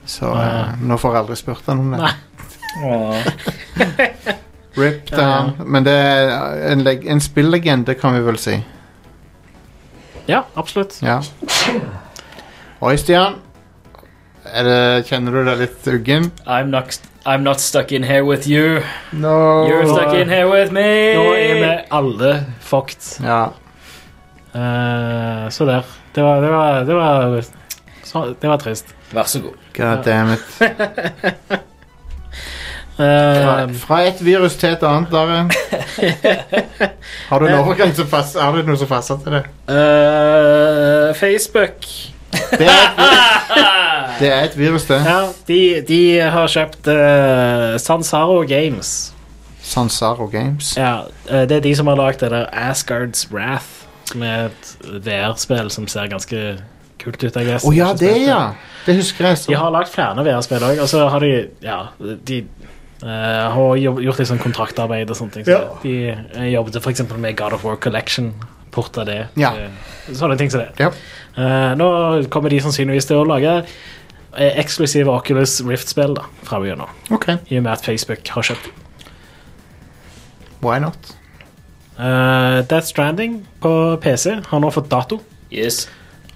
S1: Så eh, nå får jeg aldri spurt han om det.
S3: Nei.
S2: Åh.
S1: Rip til han. Men det er en, leg- en spillegende, kan vi vel si.
S3: Ja, absolutt.
S1: Ja. Oi, Stian. Er det, kjenner du deg litt uggen?
S2: I'm, not, I'm not stuck in here with you.
S1: No.
S2: You're stuck in here with me.
S3: Nå er vi alle fucked.
S1: Ja.
S3: Eh, så der. Det var Det var, det var, så, det var trist.
S2: Vær så god.
S1: God damn it. Fra,
S3: Eh,
S1: fra et virus til et annet,
S3: [LAUGHS]
S1: Are. Har du en overgang som passer? Har du noe som passer til det?
S3: eh, Facebook
S1: Det er et, vi-
S3: [LAUGHS]
S1: det, er et virus, det.
S3: Ja, de, de har kjøpt eh, Sansaro Games.
S1: Sansaro Games.
S3: Ja, eh, Det er de som har lagd det der Asgards Wrath, som er et VR-spill som ser ganske kult ut. jeg guess.
S1: Å ja,
S3: Ikke
S1: det,
S3: spilt
S1: ja. Det husker jeg.
S3: De
S1: Så.
S3: har lagd flere VR-spill òg, og så har de ja, de eh, har jobb, gjort litt sånn kontraktarbeid og sånne ting. Så
S1: Ja.
S3: De eh, jobbet f.eks. med God of War Collection. Porta det.
S1: Ja.
S3: Eh, Sånne ting som det.
S1: Ja.
S3: Eh, nå kommer de sannsynligvis til å lage eh, eksklusive Oculus Rift-spill da, framover nå.
S1: Ok,
S3: i og med at Facebook har kjøpt dem.
S1: why not?
S3: Eh, Death Stranding på PC har nå fått dato.
S2: Yes.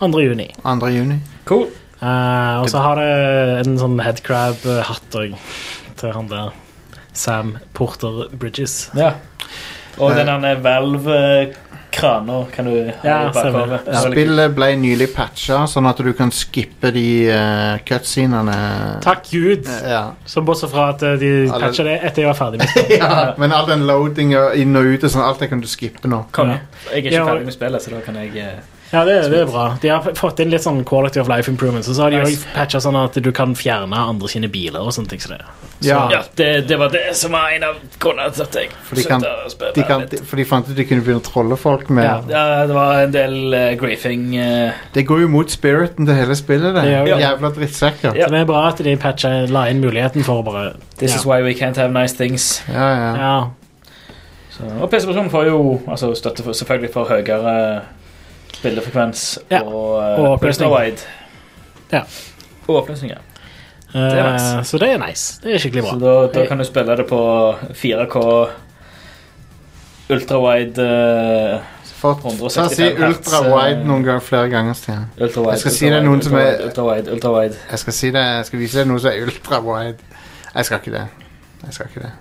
S3: 2. juni.
S1: 2. juni.
S2: Cool.
S3: Eh, og så har det en sånn headcrab-hatt òg, til han der Sam Porter Bridges.
S2: Ja. Og
S1: Eh.
S2: den derne hvelv-krana kan du ha
S3: Ja,
S2: i
S3: stemmer.
S2: bakhodet.
S3: Ja.
S1: Spillet ble nylig patcha, sånn at du kan skippe de uh, cutscenene.
S3: Takk Gud!
S1: Ja. [LAUGHS]
S3: Som bortsett fra at eh, de
S1: Alle-
S3: patcha det etter jeg var ferdig. med det.
S1: ja, men all den loadinga inn og ut og sånn, alt det kan du skippe nå.
S2: Konge. Jeg er ikke
S3: Ja, og-
S2: ferdig med spillet, så da kan jeg eh,
S3: Ja, det, det er bra. De har f- fått inn litt sånn quality of life improvements. Og så har de òg
S2: Nice.
S3: patcha sånn at du kan fjerne andre sine biler og sånne ting. som det.
S1: Ja,
S2: Ja, det, det var det som var en av grunnene til at jeg
S1: For de kan-
S2: å spille
S1: de kan,
S2: litt.
S1: for de fant ut de kunne begynne å trolle folk med
S3: Ja.
S2: Ja, det var en del eh, griefing. eh,
S1: Det går jo mot spiriten til hele spillet, det.
S3: Det gjør
S2: det.
S1: Jævla drittsekker.
S2: Ja.
S3: Så det er bra at de patcha, la inn muligheten for å bare
S2: this
S3: ja.
S2: is why we can't have nice things.
S1: Ja, ja.
S3: ja.
S2: Så, og PC-versjonen får jo altså, støtte for, selvfølgelig for høyere bildefrekvens
S3: Ja,
S2: og, eh,
S3: og oppløsning.
S2: ultra-wide.
S3: Ja.
S2: Og oppløsning,
S3: Eh,
S2: ja.
S3: Eh,
S2: er nice.
S3: Så det er nice. Det er skikkelig bra.
S2: Så da, da kan du spille det på 4K ultrawide eh,
S1: Fått, så
S2: 165
S1: si
S2: hertz,
S1: ultra-wide
S2: eh,
S1: noen ganger flere ganger, Stian.
S2: ultrawide,
S1: Jeg skal si det er noen som er-
S2: ultrawide, ultrawide, ultrawide.
S1: Jeg skal, si det, jeg skal vise deg noe som er ultra-wide. Jeg skal ikke det. Jeg skal ikke det.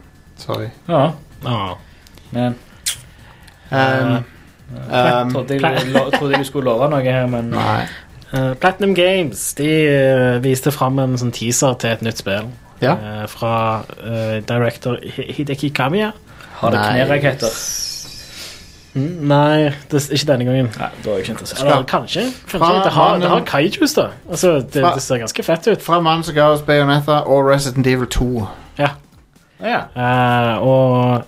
S1: Sorry.
S2: Ja,
S3: Ah.
S2: men
S1: Um,
S2: jeg
S1: um,
S2: trodde jeg, lo, trodde jeg skulle love noe her, men
S1: nei.
S3: Eh, Platinum Games de eh, viste fram en sånn teaser til et nytt spill.
S1: Ja.
S3: Eh, fra eh, director Hi- Hideki Kamiya.
S2: har det
S1: Nei.
S2: kneraketter?
S3: Mm, nei, det, ikke denne gangen.
S2: Nei, da er jeg ikke interessert.
S3: Eller kanskje. kanskje.
S1: Fra
S3: Det, har, det har
S1: mannen-
S3: kaijus, da. Altså, det,
S1: Fra-
S3: det ser ganske fett ut.
S1: Fra mannen som ga oss Bayonetta og Resident Evil 2.
S3: Ja.
S2: Ja.
S3: Eh, og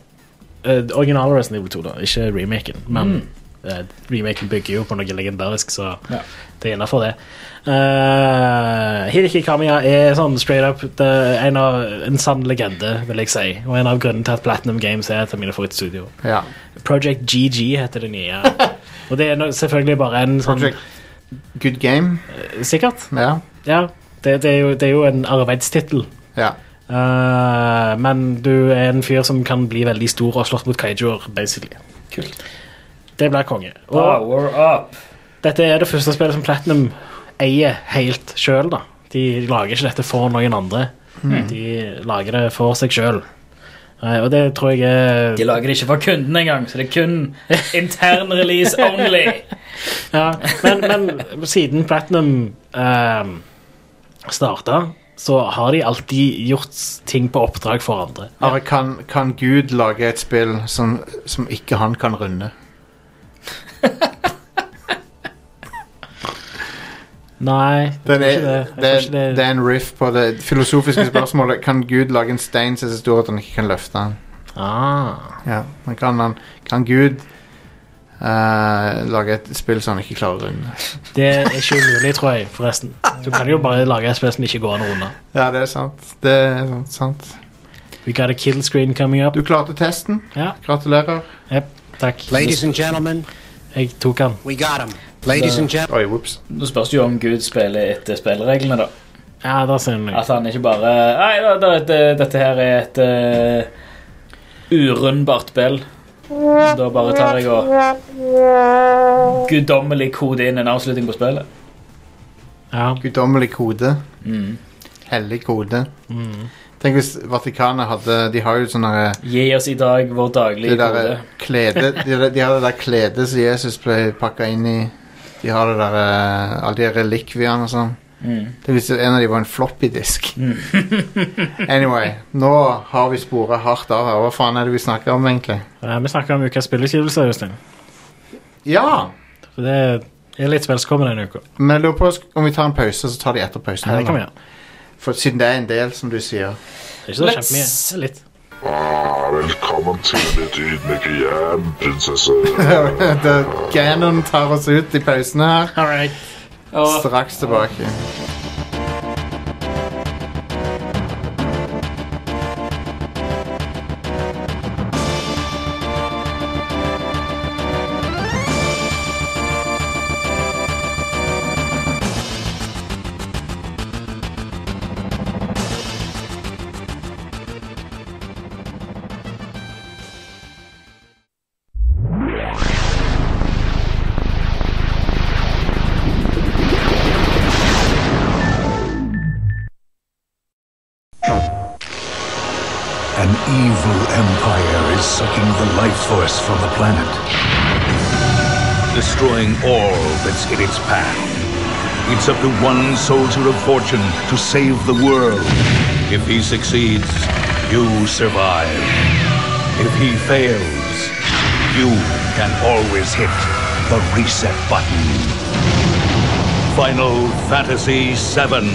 S3: eh, originale Resident Evil 2, da, ikke remaken. Men eh, remaken bygger jo på noe legendarisk, så
S2: Ja.
S3: det er innafor det. Eh, Hideki Kamiya er sånn straight up det, er en, av, en sann legende, vil jeg si. Og en av grunnene til at Platinum Games er et av mine favorittstudioer.
S1: Ja.
S3: Project GG heter det nye. og det er no, selvfølgelig bare en sånn
S1: Project Good Game.
S3: Sikkert.
S1: Ja.
S3: Ja. Det, det, er jo, det er jo en arbeidstittel.
S1: ja.
S3: Eh, men du er en fyr som kan bli veldig stor og slåss mot kaijuer, basically.
S2: Kult.
S3: Det blir konge. Og
S2: Power up.
S3: dette er det første spillet som Platinum eier helt sjøl, da. De lager ikke dette for noen andre. De lager det for seg sjøl. og det tror jeg er
S2: De lager det ikke for kunden engang, så det er kun intern release [LAUGHS] only.
S3: Ja, men, men siden Platinum um, starta, så har de alltid gjort ting på oppdrag for andre.
S1: Are, kan, kan Gud lage et spill som, som ikke han kan runde?
S3: Nei, jeg
S1: Den
S3: tror
S1: er,
S3: ikke det. Jeg
S1: det,
S3: tror
S1: er,
S3: ikke det.
S1: det er en riff på det filosofiske spørsmålet Kan Gud lage en stein som er så stor at han ikke kan løfte den?
S3: Ah.
S1: Ja, men kan, han, kan Gud eh, lage et spill som han ikke klarer å runde?
S3: Det er ikke umulig, tror jeg, forresten. Du kan jo bare lage et spill som ikke går an å runde.
S1: Ja, det er sant. Det er sant, sant.
S3: We got a kill screen coming up.
S1: Du klarte testen.
S3: Ja,
S1: Gratulerer.
S3: jep, takk.
S5: Ladies and gentlemen,
S3: Jeg tok den.
S5: we got him. Ladies and gentlemen.
S1: Oi, whoops.
S2: Nå spørs det jo om Gud spiller etter spillereglene, da.
S3: Ja, der ser den
S2: At Altså, han ikke bare Nei, da, da, det, dette her er et eh, urundbart spill. Så Da bare tar jeg og guddommelig kode inn en avslutning på spillet.
S3: Ja.
S1: Guddommelig kode. Hellig kode.
S3: Mm.
S1: Tenk hvis Vatikanet hadde De har jo sånne eh,
S2: Gi oss i dag vår
S1: det
S2: daglige
S1: der
S2: kode.
S1: eh, klede
S3: [LAUGHS]
S1: de, de har det der kledet som Jesus ble pakka inn i. De har det der eh, alle de relikviene og sånn.
S2: Mm.
S1: Det visste en av de var en floppydisk. [LAUGHS] anyway, nå har vi sporet hardt av her. Hva faen er det vi snakker om, egentlig?
S3: Eh, Vi snakker om ukas spillutgivelse, Øystein.
S1: Ja!
S3: For Det er litt spill som kommer denne uka.
S1: Men jeg lurer på om vi tar en pause, så tar de etter pausen.
S3: Ja, det kan vi
S1: heller.
S3: gjøre.
S1: For siden det er en del, som du sier.
S3: Det er ikke så
S2: Let's-
S3: kjempemye. Det er Litt.
S7: Ah, velkommen til ditt ydmyke hjem, prinsesse.
S1: Det- Ganon tar oss ut i pausen her.
S3: All right.
S1: Straks tilbake.
S8: An evil empire is sucking the life force from the planet, destroying all that's in its path. It's up to one soldier of fortune to save the world. If he succeeds, you survive. If he fails, you can always hit the reset button. Final Fantasy VII.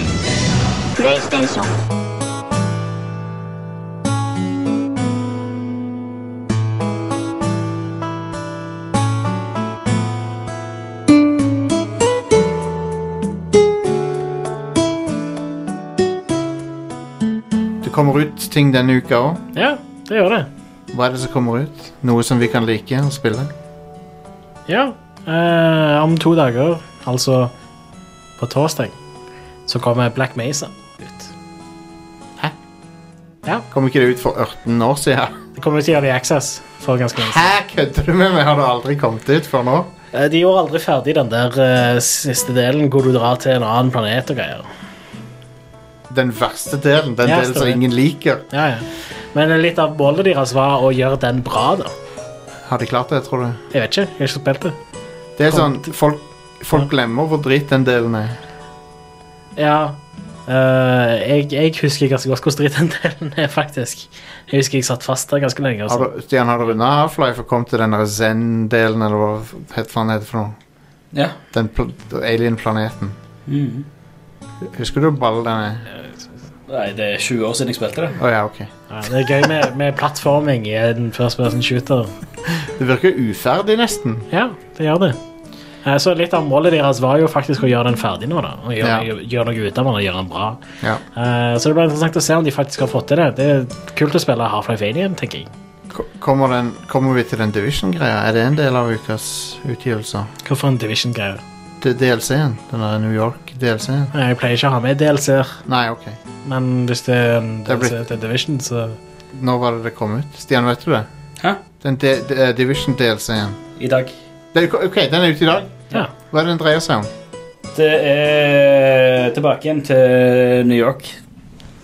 S1: Det kommer ut ting denne uka òg.
S3: Ja, det gjør det.
S1: Hva er det som kommer ut? Noe som vi kan like å spille?
S3: Ja, eh, om to dager, altså på torsdag, så kommer Black Mesa ut. Ja.
S1: Kom ikke det ut for 18 år siden?
S3: Det kommer ut i Early Access for ganske lenge siden.
S1: Hæ, kødder du med meg? Har det aldri kommet ut før nå?
S3: Eh, De gjorde aldri ferdig den der eh, siste delen hvor du drar til en annen planet og greier.
S1: Den verste delen, den
S3: Ja,
S1: delen som
S3: stemmer.
S1: ingen liker.
S3: Ja, ja. Men eh, litt av målet deres var å gjøre den bra, da.
S1: Har de klart det, tror du?
S3: Jeg vet ikke. Jeg har ikke spilt det.
S1: Det er sånn,
S3: Kom
S1: folk, folk glemmer hvor drit den delen er.
S3: Ja. eh, jeg, jeg husker ganske godt hvordan dritt den [LAUGHS] delen er, faktisk. Jeg husker jeg satt fast der ganske lenge.
S1: Har
S3: Altså.
S1: du, Stian, har du runda Half-Life og kommet til den der Zen-delen, eller hva het faen heter for noe?
S2: Ja.
S1: Den pl alien-planeten.
S2: Mhm.
S1: Husker du hvor ball den er?
S2: Nei, det er 20 år siden jeg spilte det.
S1: Å ja, ok.
S3: Ja, det er gøy med, med plattforming i en first person shooter.
S1: Det virker uferdig, nesten.
S3: Ja, det gjør det. Eh, Så litt av målet deres var jo faktisk å gjøre den ferdig nå, da. Og gjøre,
S1: Ja.
S3: gjøre noe ut av den og gjøre den bra.
S1: Ja.
S3: Eh, så det blir interessant å se om de faktisk har fått til det. Det er kult å spille Half-Life 1 igjen, tenker jeg.
S1: Ko- Kommer, den, kommer vi til den Division-greia? Er det en del av ukas utgivelser?
S3: Hvorfor en Division-greie?
S1: Det er DLC-en. Den der New York-DLC-en.
S3: Eh, Jeg pleier ikke å ha med DLC-er,
S1: Nei, ok.
S3: men hvis det er en
S1: Det er
S3: DLC
S1: blitt-
S3: til Division, så
S1: Når var det det kom ut? Stian, vet du det?
S2: Hæ?
S1: Den D- D- eh, Division-DLC-en.
S2: I dag.
S1: Det er- Ok, den er ute i dag.
S3: Ja.
S1: Hva er det den dreier seg om?
S2: Det er tilbake igjen til New York.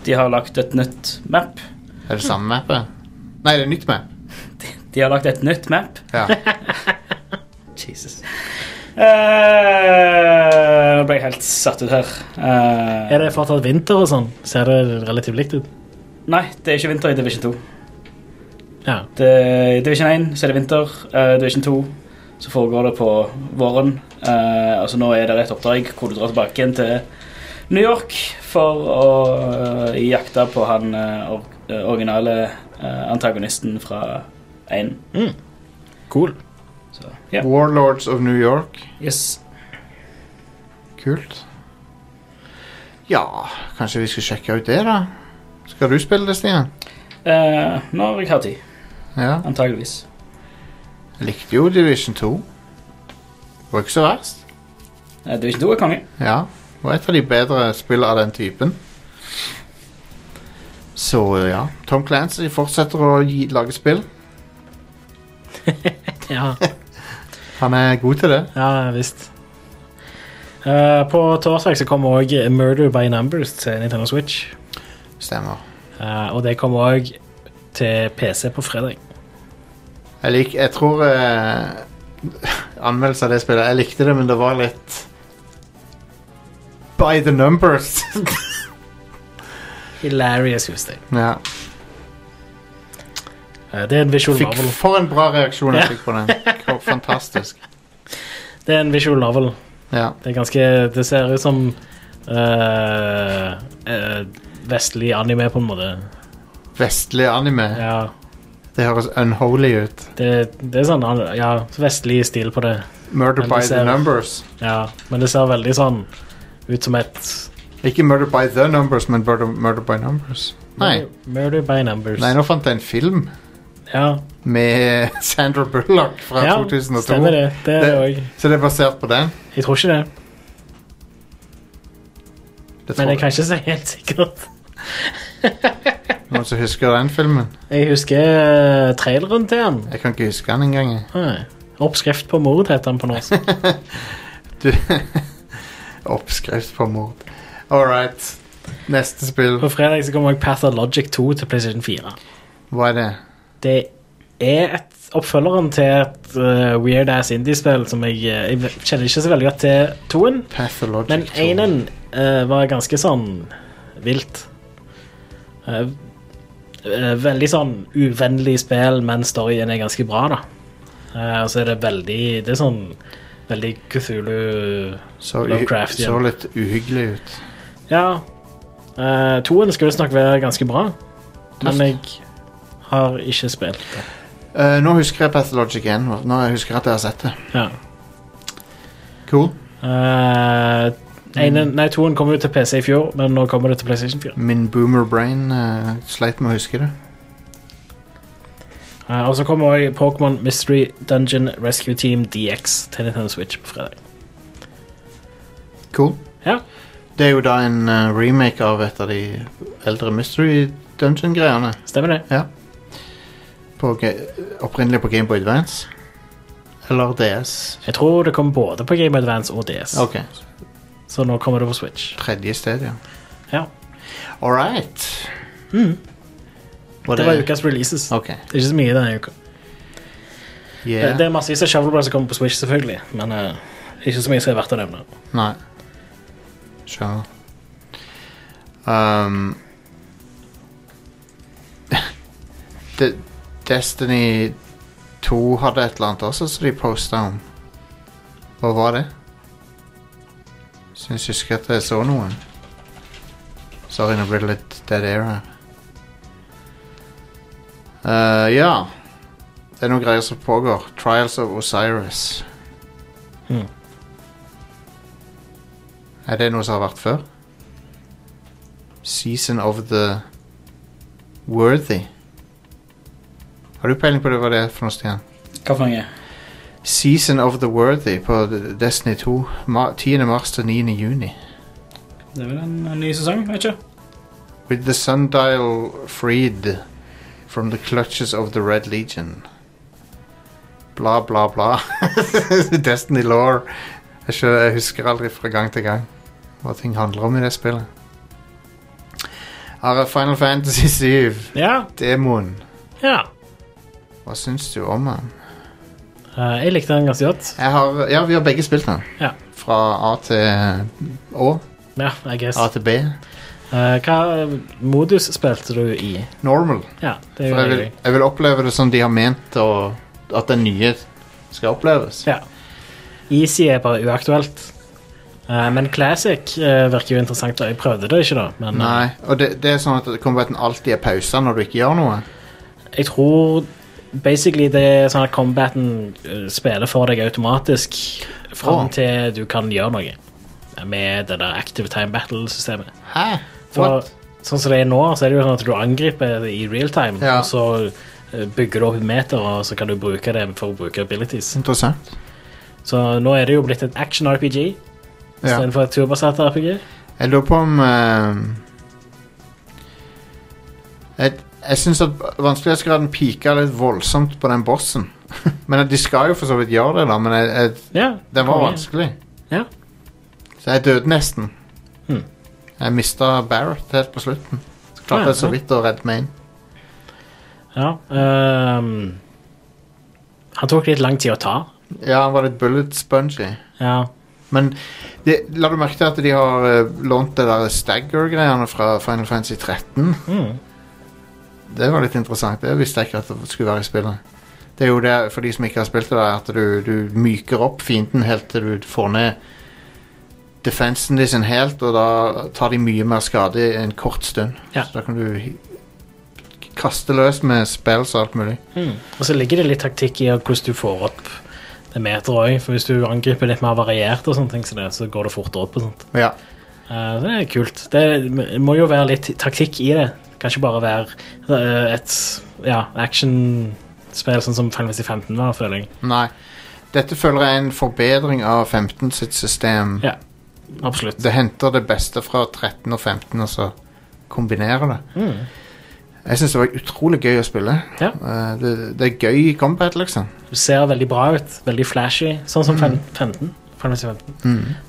S2: De har lagt et nytt map.
S1: Er det samme mappet? Nei, det er nytt map.
S2: De har lagt et nytt map.
S1: [LAUGHS] Ja.
S2: Jesus. Eh, Nå ble jeg helt satt ut her. Eh,
S3: er det fortsatt vinter og sånn. Ser det relativt likt ut.
S2: Nei, det er ikke vinter i Division 2.
S3: Ja.
S2: Det, I Division 1 så er det vinter. eh, Division 2 så foregår det på våren. Eh, altså Nå er det et oppdrag hvor du drar tilbake igjen til New York for å eh, jakte på han eh, or eh, originale eh, antagonisten fra 1.
S3: Cool.
S2: Så, ja.
S1: Warlords of New York.
S2: Yes.
S1: Kult. Ja, kanskje vi skal sjekke ut det, da? Skal du spille det, Stian?
S2: Eh, når jeg har tid,
S1: Ja.
S2: antageligvis.
S1: Jeg likte jo Division 2. Det var ikke så verst.
S2: Eh, Division 2 er konge.
S1: Ja. Det var et av de bedre spillene av den typen. Så ja. Tom Clancy fortsetter å gi, lage spill.
S3: Ja.
S1: Han er god til det.
S3: [LAUGHS] Ja, visst. Eh, på torsdag så kommer òg Murder by Numbers til Nintendo Switch.
S1: Stemmer.
S3: Eh, og det kommer òg til PC på fredag.
S1: Jeg, lik, jeg tror eh, [LAUGHS] Anmeldelse av det spillet Jeg likte det, men det var litt By the numbers. [LAUGHS]
S3: Hilarious, husk det.
S1: ja.
S3: Eh, det er en visual
S1: Fikk
S3: novel.
S1: for en bra reaksjon jeg
S3: Ja.
S1: fikk på den. Fantastisk.
S3: Det er en visual novel.
S1: Ja.
S3: Det er ganske Det ser ut som eh, eh, vestlig anime, på en måte.
S1: Vestlig anime.
S3: Ja,
S1: Det høres unholy ut.
S3: det, det er sånn an- Ja, vestlig stil på det.
S1: Murder
S3: Men
S1: by
S3: det
S1: the
S3: ser-
S1: numbers.
S3: Ja, men det ser veldig sånn ut som et
S1: Ikke Murder by the numbers, men Murder, murder by numbers. Nei.
S3: Murder by Numbers.
S1: Nei, nå fant jeg en film
S3: ja,
S1: med [LAUGHS] Sandra Bullock fra
S3: ja
S1: 2002.
S3: stemmer det. Det er det
S1: Det-
S3: òg.
S1: Så det er basert på den?
S3: Jeg tror ikke det,
S1: Det tror
S3: men jeg kan
S1: jeg.
S3: ikke si helt sikkert.
S1: Noen som husker den filmen?
S3: Jeg husker eh, traileren til den.
S1: Jeg kan ikke huske den engang. jeg.
S3: Nei. Oppskrift på mord heter den på norsk.
S1: Du [LAUGHS] Oppskrift på mord. All right. Neste spill.
S3: På fredag så kommer også Pathologic 2 til PlayStation 4.
S1: Hva er det?
S3: Det er et oppfølgeren til et eh, weird ass indie-spill som jeg, eh, jeg kjenner ikke så veldig godt til toen,
S1: Pathologic
S3: men
S1: 2.
S3: enen eh, var ganske sånn vilt. Eh, eh, veldig sånn uvennlig spill, men storyen er ganske bra, da. Eh, og så er det veldig Det er sånn veldig Cthulhu
S1: så, u-
S3: Lovecraft igjen.
S1: så litt uhyggelig ut.
S3: Ja. Uh, toen skal visstnok være ganske bra, men jeg har ikke spilt det.
S1: Eh, nå husker jeg Pathologic 1. Nå husker jeg at jeg har sett det.
S3: Ja.
S1: Cool.
S3: Eh,
S1: Mm.
S3: ene, nei, toen kom jo til PC i fjor, men nå kommer det til PlayStation 4.
S1: Min boomer brain eh, sleit med å huske det.
S3: Eh, og så kommer også Pokémon Mystery Dungeon Rescue Team DX til Nintendo Switch på fredag.
S1: Cool.
S3: Ja.
S1: Det er jo da en eh, remake av et av de eldre Mystery dungeon-greiene.
S3: Stemmer det?
S1: Ja. På, Ga- opprinnelig på Game Boy Advance. Eller DS.
S3: Jeg tror det kommer både på Game Advance og DS.
S1: Ok,
S3: Så nå kommer det på Switch.
S1: tredje sted, ja.
S3: Ja.
S1: All right. Var
S3: Mm. Det var ukas releases.
S1: Ok,
S3: Det er ikke så mye denne uka.
S1: yeah.
S3: Det er massevis av Shovelblade som kommer på Switch, selvfølgelig. Men eh, ikke så mye som er verdt å nevne.
S1: Nei. Skjønner. Um, [LAUGHS] De Destiny 2 hadde et eller annet også som de posta om. Hva var det? Syns jeg husker at jeg så noen. Sorry, nå blir det litt dead air her. Eh, ja. Det er noen greier som pågår. Trials of Osiris. Er det noe som har vært før? Season of the Worthy. Har du peiling på det, hva det er for noe, Stian?
S2: Hva for noe?
S1: Season of the Worthy på D- Destiny 2. ma- 10. mars til 9. juni.
S2: Det er vel en, en ny sesong, vet ikke.
S1: With the sundial freed from the clutches of the Red Legion. Bla, bla, bla. [LAUGHS] Destiny law. Jeg, skjø- jeg husker aldri fra gang til gang hva ting handler om i det spillet. Are Final Fantasy 7,
S3: Ja.
S1: Demon.
S3: ja.
S1: Hva syns du om den?
S3: Eh, jeg likte den ganske godt.
S1: Jeg har, ja, vi har begge spilt den.
S3: Ja.
S1: Fra A til Å.
S3: Ja, I guess.
S1: A til B.
S3: Eh, hva modus spilte du i?
S1: Normal.
S3: Ja, det er
S1: For
S3: jo
S1: jeg vil,
S3: hyggelig.
S1: jeg vil oppleve det som de har ment, og at den nye skal oppleves.
S3: Ja. Easy er bare uaktuelt. Eh, men Classic eh, virker jo interessant. da. Jeg prøvde det ikke, da. Men eh,
S1: Nei, og det, det er sånn at combaten alltid er pausa når du ikke gjør noe.
S3: eh, jeg tror basically det er sånn at combaten eh, spiller for deg automatisk fram
S1: Å.
S3: til du kan gjøre noe. Med det der active time battle-systemet.
S1: Hæ?
S3: For
S1: What?
S3: sånn som det er nå, så er det jo sånn at du angriper i real time,
S1: Ja.
S3: og så eh, bygger du opp meter, og så kan du bruke det for å bruke abilities.
S1: Interessant.
S3: Så nå er det jo blitt et action-RPG
S1: Ja.
S3: istedenfor et turbasert RPG.
S1: Jeg lurer på om eh, Jeg, jeg syns at vanskelighetsgraden pika litt voldsomt på den bossen. [LAUGHS] men De skal jo for så vidt gjøre det, da, men jeg, jeg,
S3: Ja,
S1: den var
S3: konge.
S1: vanskelig.
S3: Ja.
S1: Så jeg døde nesten.
S3: Hmm.
S1: Jeg mista Barrett helt på slutten. Så
S3: Ah,
S1: klarte
S3: ja,
S1: jeg så
S3: ja.
S1: vidt å redde meg inn.
S3: Ja, ehm, han tok litt lang tid å ta.
S1: Ja, han var litt bullet spongy.
S3: Ja,
S1: Men det, la du merke til at de har eh, lånt det der stagger-greiene fra Final Fantasy 13?
S3: Mm.
S1: Det var litt interessant. Det visste jeg ikke at det skulle være i spillet. Det er jo det, for de som ikke har spilt det, der, at du, du myker opp fienden helt til du får ned defensen de sin helt, og da tar de mye mer skade i en kort stund.
S3: Ja.
S1: Så da kan du hi- kaste løs med spells og alt mulig.
S3: Og så ligger det litt taktikk i hvordan du får opp det meter òg. For hvis du angriper litt mer variert, og sånne ting, som det, så går det fortere opp. og sånt.
S1: Ja.
S3: Eh, det er kult. Det må jo være litt taktikk i det. Kan ikke bare være eh, et ja, actionspill sånn som Final Fantasy 15 var, føler jeg.
S1: Nei. Dette føler jeg er en forbedring av 15 sitt system.
S3: Ja, absolutt.
S1: Det henter det beste fra 13 og 15 og så kombinerer det. Jeg syns det var utrolig gøy å spille.
S3: Ja.
S1: Eh, det, det er gøy i combat, liksom.
S3: Det ser veldig bra ut. Veldig flashy. Sånn
S1: Mm.
S3: som fem- 15. Final Fantasy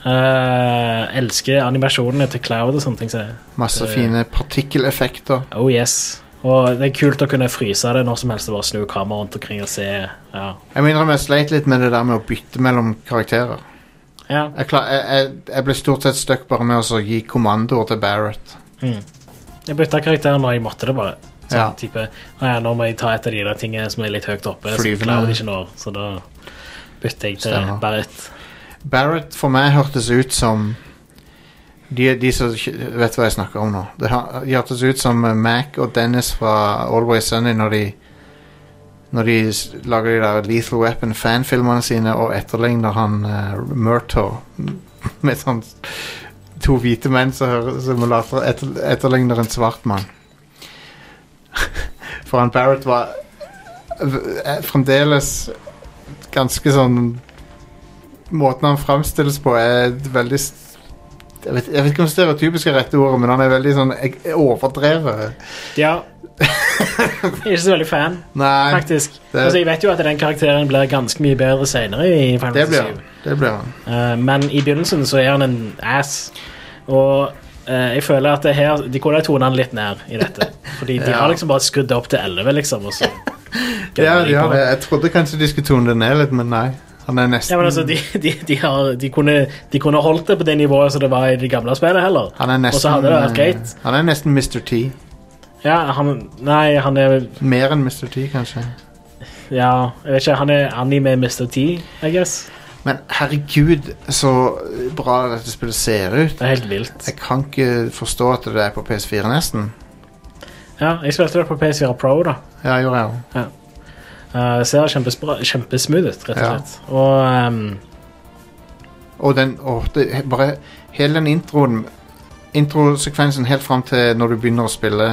S3: 15. Eh, elsker animasjonene til Cloud og sånne ting. Så.
S1: Masse
S3: Det-
S1: fine partikkeleffekter.
S3: Oh yes. Og det er kult å kunne fryse det når som helst og bare snu kameraet rundt omkring og se. Ja.
S1: Jeg må innrømme jeg sleit litt med det der med å bytte mellom karakterer.
S3: ja.
S1: Jeg, klar, jeg, jeg, jeg ble stort sett stuck bare med å så gi kommandoer til Barrett.
S3: Jeg bytta karakter når jeg måtte det, bare. Sånn
S1: Ja.
S3: type, «Å ja, Nå må jeg ta et av de der tingene som er litt høyt oppe. Som
S1: Flyvende.
S3: Cloud ikke når, så da bytter jeg til
S1: Stemmer.
S3: Barrett.
S1: Barrett for meg hørtes ut som de, de som ikke- vet hva jeg snakker om nå. Det hø- hørtes ut som eh, Mac og Dennis fra Always Sunny når de Når de s- lager de der Lethal Weapon-fanfilmene sine og etterligner han uh, Murtaugh [LAUGHS] med sånn to hvite menn som hører- som later etter, etterligner en svart mann. [LAUGHS] For han Barrett var v- eh, fremdeles ganske sånn Måten han fremstilles på er veldig s- jeg vet, jeg vet ikke om stereotypisk er rette ordet, men han er veldig sånn ek- overdrevet.
S3: Ja. Jeg er ikke så veldig fan,
S1: Nei,
S3: faktisk.
S1: det-
S3: altså, jeg vet jo at den karakteren blir ganske mye bedre senere i Final
S1: det
S3: Fantasy
S1: blir han.
S3: 7.
S1: Det blir han.
S3: Eh, men i begynnelsen så er han en ass. Og eh, jeg føler at det her, de kunne ha tonet han litt ned i dette. Fordi
S1: [LAUGHS]
S3: de
S1: Ja.
S3: har liksom bare skrudd det opp til 11, liksom. Og så
S1: [LAUGHS] Ja, de har det. Jeg trodde kanskje de skulle tone det ned litt, men nei. Han er
S3: Ja, men
S1: nesten,
S3: altså, de, de, de, har, de, kunne, de kunne holdt det på det nivået som det var i det gamle spillet, heller.
S1: han er
S3: Og så
S1: nesten
S3: hadde det vært
S1: eh,
S3: greit.
S1: Han er nesten Mr. T.
S3: Ja, han Nei, han er
S1: Mer enn Mr. T, kanskje.
S3: Ja, jeg vet ikke. Han er anime Mr. T, I guess.
S1: Men herregud, så bra dette spillet ser ut.
S3: Det er helt vilt.
S1: Jeg kan ikke forstå at det er på PS4 nesten.
S3: Ja, jeg spilte det på PS4 Pro, da.
S1: Ja, gjorde jeg jo.
S3: Uh, ser kjempespra- kjempesmooth ut, rett og
S1: Ja.
S3: slett. Og ehm,
S1: Og den, åh, det, bare hele den introen Introsekvensen helt fram til når du begynner å spille,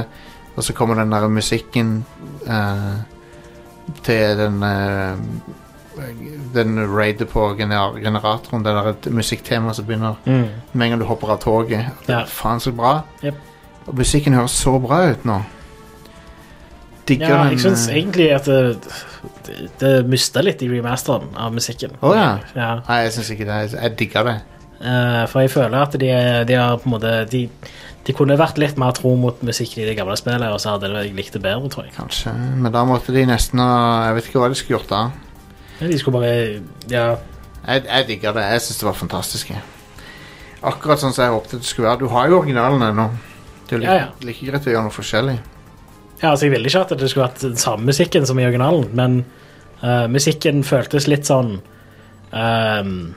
S1: og så kommer den der musikken eh, til den eh, Den raidet på gener generatoren, det der musikktemaet som begynner
S3: mm.
S1: med en gang du hopper av toget. Det
S3: Ja.
S1: er Faen så bra.
S3: Jep.
S1: Og musikken høres så bra ut nå. Digger
S3: Ja,
S1: den.
S3: jeg syns
S1: eh,
S3: egentlig at det, det, det mista litt i remasteren av musikken.
S1: Å, ja.
S3: Ja.
S1: Nei, jeg syns ikke det. Jeg- Jeg digger det.
S3: Eh, for jeg føler at de, de har på en måte de, de kunne vært litt mer tro mot musikken i det gamle spillet, og så hadde det- jeg likt det bedre, tror jeg.
S1: Kanskje. Men da måtte de nesten ha Jeg vet ikke hva de skulle gjort da.
S3: Men De skulle bare Ja.
S1: Jeg, jeg digger det. Jeg syns det var fantastisk. jeg. Akkurat sånn som jeg håpet det skulle være. Du har jo originalen ennå. Det er jo like,
S3: Ja, ja.
S1: like greit å gjøre noe forskjellig.
S3: ja altså, jeg ville ikke at det skulle vært den samme musikken som i originalen, men eh, musikken føltes litt sånn ehm,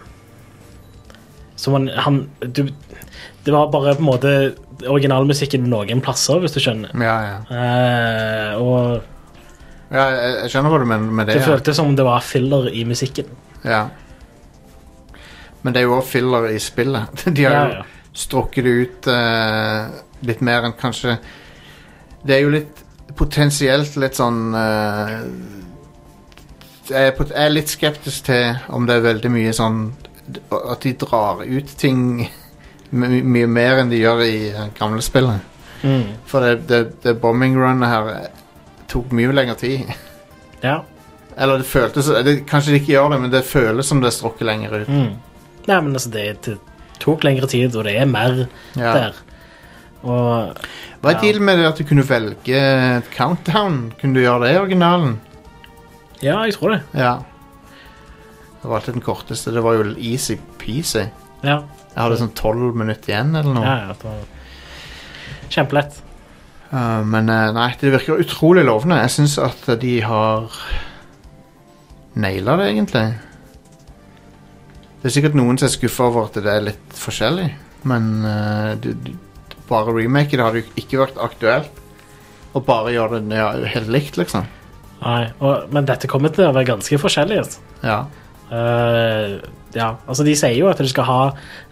S3: Som han, han du, Det var bare på en måte originalmusikken noen plasser, hvis du skjønner.
S1: Ja, ja.
S3: Eh, og
S1: ja jeg, jeg skjønner hva du mener med
S3: det
S1: det. ja.
S3: føltes som om det var filler i musikken.
S1: Ja. Men det er jo også filler i spillet. [LAUGHS] De har jo
S3: Ja, ja.
S1: strukket det ut eh, litt mer enn kanskje Det er jo litt potensielt litt sånn eh, jeg, er pot- jeg er litt skeptisk til om det er veldig mye sånn d- At de drar ut ting my mye mer enn de gjør i eh, gamle spillet.
S3: Mm.
S1: For det, det, det bombing runnet her eh, tok mye lengre tid.
S3: Ja.
S1: Eller det føltes eh, det, Kanskje de ikke gjør det, men det føles som det er strukket lenger ut.
S3: Mm. Nei, men altså, det, det tok lengre tid, og det er mer
S1: Ja.
S3: der. Og
S1: Hva er
S3: Ja.
S1: dealen med det at du kunne velge et countdown? Kunne du gjøre det i originalen?
S3: ja, jeg tror det.
S1: Ja. Jeg valgte den korteste. Det var jo easy peasy.
S3: Ja,
S1: Jeg hadde sånn tolv minutter igjen eller noe.
S3: ja, ja det var Kjempelett.
S1: Uh, men eh, nei, det virker utrolig lovende. Jeg syns at de har naila det, egentlig. Det er sikkert noen som er skuffa over at det er litt forskjellig, men eh, du, du, bare remake det hadde jo ikke vært aktuelt. Og bare gjøre det ja, helt likt, liksom.
S3: Nei, og, men dette kommer til å være ganske forskjellig. Altså.
S1: Ja.
S3: Eh, ja, altså De sier jo at du skal ha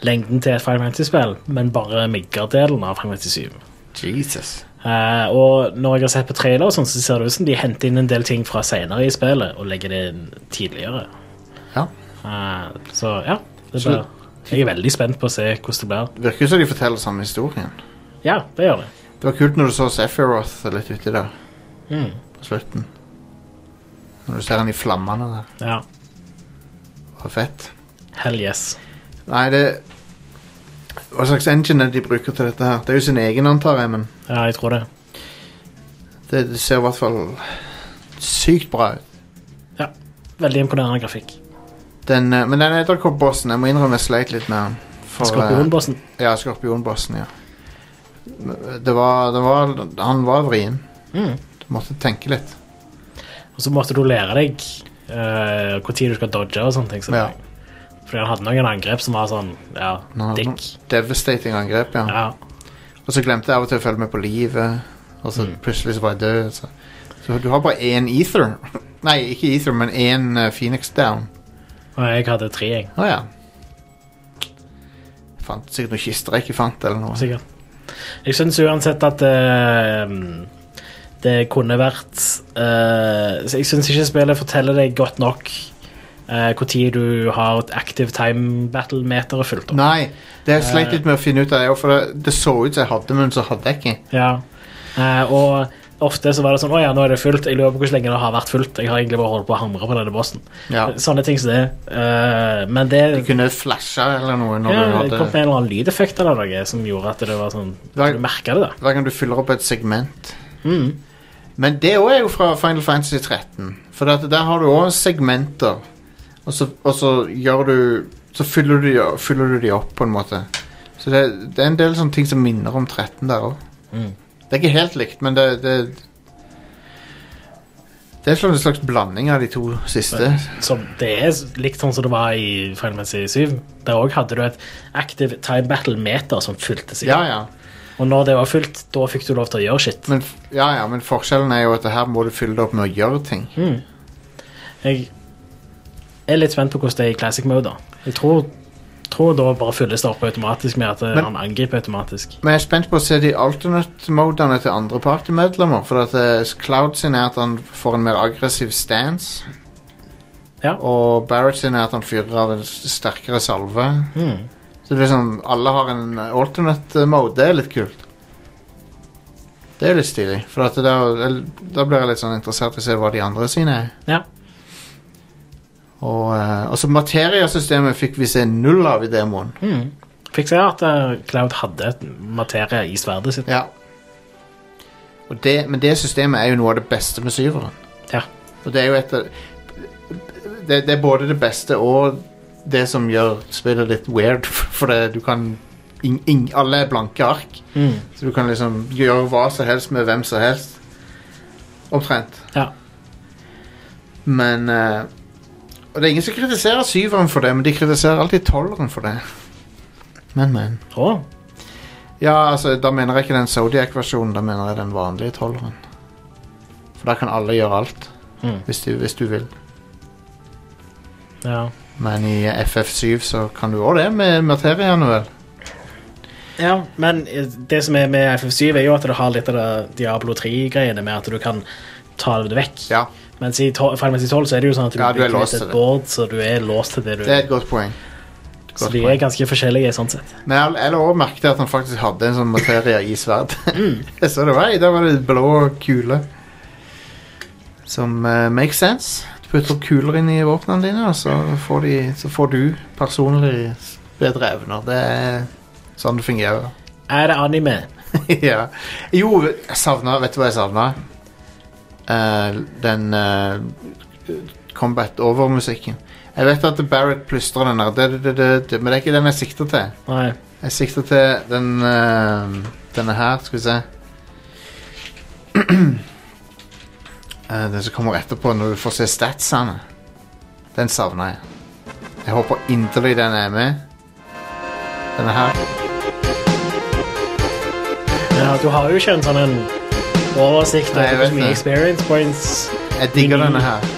S3: lengden til et Final Fantasy-spill, men bare miggerdelen av Final Fantasy 7.
S1: Jesus.
S3: Eh, og når jeg har sett på trailer, og sånn, så ser det ut som de henter inn en del ting fra senere i spillet og legger det inn tidligere.
S1: Ja.
S3: Eh, så ja. Det
S1: Så-
S3: blir, jeg er veldig spent på å se hvordan det blir.
S1: Virker som de forteller samme historien.
S3: Ja, det gjør det.
S1: Det var kult når du så Sephiroth litt uti der.
S3: Mm.
S1: På slutten. Når du ser han i flammene der.
S3: Ja.
S1: Det var fett.
S3: Hell yes.
S1: Nei, det Hva slags engine er det de bruker til dette her? Det er jo sin egen, antar jeg, men
S3: Ja, jeg tror det.
S1: det, det ser i hvert fall sykt bra ut.
S3: Ja. Veldig imponerende grafikk.
S1: Den, eh, men den edderkoppbossen, jeg må innrømme jeg sleit litt med han. For, eh,
S3: Skorpionbossen.
S1: Ja, skorpionbossen, ja. Det var, det var Han var vrien.
S3: Mm.
S1: Du måtte tenke litt.
S3: Og så måtte du lære deg uh, hvor tid du skal dodge og sånne ting. Så
S1: Ja.
S3: Fordi han hadde noen angrep som var sånn ja,
S1: Han hadde
S3: dick.
S1: noen Devastating angrep, ja.
S3: Ja.
S1: Og så glemte jeg av og til å følge med på livet. Og så plutselig så var jeg død. Så, så du har bare én ether. [LAUGHS] Nei, ikke ether, men én eh, Phoenix down.
S3: Og jeg hadde tre, jeg.
S1: Å ja. Jeg Fant sikkert noen kister jeg ikke fant, eller noe.
S3: Sikkert. Jeg syns uansett at eh, det kunne vært eh, så Jeg syns ikke spillet forteller deg godt nok eh, hvor tid du har et active time battle-meteret fulgt opp.
S1: Nei, det har jeg
S3: Eh.
S1: sleit litt med å finne ut av det også, for det, det så ut som jeg hadde, men så hadde jeg ikke.
S3: Ja. Eh, og ofte så var det sånn Å ja, nå er det fullt. Jeg lurer på hvor lenge det har vært fullt. Jeg har egentlig bare holdt på å hamre på denne bossen.
S1: Ja.
S3: Sånne ting som det. Eh, men det
S1: Du kunne flashe eller noe når
S3: ja,
S1: du
S3: det kom
S1: hadde
S3: med en eller annen lydeffekt eller noe som gjorde at det var sånn
S1: Hver-
S3: Du merka det, da.
S1: Hver gang du fyller opp et segment.
S3: Mm.
S1: Men det også er jo fra Final Fantasy 13. For at der har du òg segmenter. Og så, og så gjør du Så fyller du, de- fyller du de opp, på en måte. Så det, det er en del sånne ting som minner om 13 der òg.
S3: Mm.
S1: Det er ikke helt likt, men det Det, det er sånn en slags blanding av de to siste.
S3: Så det er likt sånn som det var i Final Fantasy 7. Der òg hadde du et active time battle-meter som fulgte seg.
S1: Ja, ja.
S3: Og når det var fullt, da fikk du lov til å gjøre shit.
S1: Men, f- ja, ja, men forskjellen er jo at her må du fylle det opp med å gjøre ting.
S3: Jeg er litt spent på hvordan det er i classic mode. da. Jeg tror, tror da bare fylles det opp automatisk med at eh,
S1: Men-
S3: han angriper automatisk.
S1: Men jeg er spent på å se de alternate-modene til andre partymedlemmer. For at eh, Cloud sin er at han får en mer aggressiv stance.
S3: Ja.
S1: Og Barrett sin er at han fyrer av en s- sterkere salve.
S3: Mm.
S1: Så det er liksom, alle har en alternate-mode. Det er litt kult. Det er litt stilig. For at da, da blir jeg litt sånn interessert i å se hva de andre sine er.
S3: Ja.
S1: Og, eh, og så materiasystemet fikk vi se null av i demoen.
S3: Mm. Fikk se at eh, Cloud hadde et materie i sverdet sitt.
S1: Ja. Og det, men det systemet er jo noe av det beste med syveren.
S3: Ja.
S1: Og det er jo et av det, det er både det beste og det som gjør spillet litt weird, [LAUGHS] for det, du kan ing, ing, Alle er blanke ark,
S3: Mm.
S1: så du kan liksom gjøre hva som helst med hvem som helst. Omtrent.
S3: Ja.
S1: Men eh, Og det er ingen som kritiserer syveren for det, men de kritiserer alltid tolveren for det. Men, men.
S3: Å,
S1: Ja, altså, da mener jeg ikke den Zodiac-versjonen, da mener jeg den vanlige tolveren. For da kan alle gjøre alt,
S3: Mm.
S1: hvis, du, hvis du vil.
S3: ja.
S1: Men i FF7 så kan du òg det med materiene, vel.
S3: Ja, men eh, det som er med FF7, er jo at det har litt av det Diablo 3-greiene med at du kan ta det vekk.
S1: Ja,
S3: Mens i to- Final Fantasy 12 så er det jo sånn at du,
S1: Ja, du er
S3: bygger
S1: låst
S3: ut
S1: til det.
S3: et board, så du er låst til det du
S1: det er et godt poeng.
S3: Så
S1: godt
S3: de er
S1: poeng.
S3: ganske forskjellige sånn sett.
S1: Men jeg jeg la også merke til at han faktisk hadde en sånn materie i sverd. Mm. Jeg så det var, der var det blå kule. Som eh, makes sense. Du putter kuler inn i våpnene dine, og så får, de, så får du personlig bedre evner. Det er sånn det fungerer.
S3: Er det anime?
S1: [LAUGHS] ja. Jo, jeg savna Vet du hva jeg savna? Eh, den eh, Combat Over-musikken. Jeg vet at Barrett plystrer den der, det, det, det, det, men det er ikke den jeg sikter til.
S3: Nei.
S1: Jeg sikter til den eh, denne her, skal vi se. [CLEARS THROAT] Eh, den som kommer etterpå, når du får se statsene. Den savna jeg. Jeg håper inderlig den er med. Denne her.
S3: Ja, du har jo ikke en sånn en oversikt
S1: Nei, jeg
S3: over
S1: vet
S3: hvor mye
S1: det.
S3: experience points
S1: Jeg digger
S3: Mini.
S1: denne her.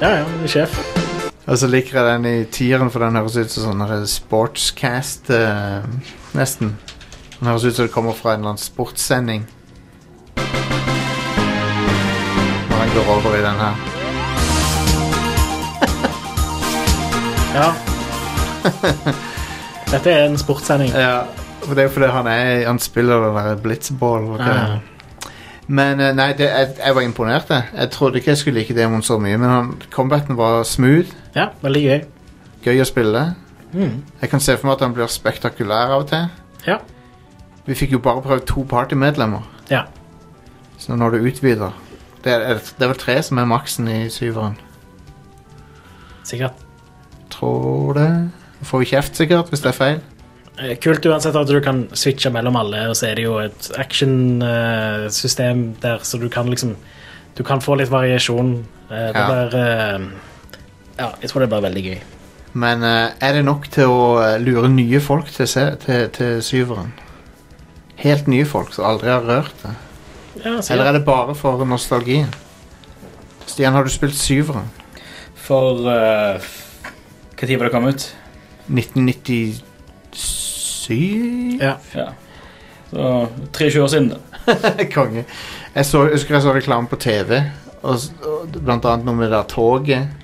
S3: Ja, ja, du er sjef.
S1: Og så liker jeg den i tieren, for den høres ut som sånn her sportscast, eh, nesten. Den høres ut som det kommer fra en eller annen sportssending. Når han går over i den her. [LAUGHS]
S3: Ja. Dette er en sportssending.
S1: Ja, for det er jo fordi han, er, han spiller den der blitzball. og
S3: Ja.
S1: hva- Men eh, nei, det, jeg, jeg var imponert, jeg. Jeg trodde ikke jeg skulle like demoen så mye, men han, combaten var smooth,
S3: Ja, veldig gøy.
S1: gøy å spille.
S3: Mm.
S1: Jeg kan se for meg at han blir spektakulær av og til.
S3: Ja.
S1: Vi fikk jo bare prøvd to partymedlemmer.
S3: Ja.
S1: Så når du utvider det er, det er vel tre som er maksen i syveren.
S3: Sikkert.
S1: Tror det. Får vi kjeft sikkert hvis det er feil.
S3: Eh, Kult uansett at du kan switche mellom alle, og så er det jo et action-system der, så du kan liksom Du kan få litt variasjon. Eh, Det
S1: Ja.
S3: blir eh, Ja, jeg tror det blir veldig gøy.
S1: Men eh, er det nok til å eh, lure nye folk til, se, til, til syveren? Helt nye folk som aldri har rørt det.
S3: Ja, sikkert.
S1: Eller er det bare for nostalgien? Stian, har du spilt syveren?
S2: For eh, f- Hva tid var det kom ut?
S1: 1997?
S3: Ja.
S2: Ja. Så 23 år siden, da.
S1: [LAUGHS] Konge. Jeg, så, jeg husker jeg så reklame på TV, og, s- og, blant annet noe med det der toget.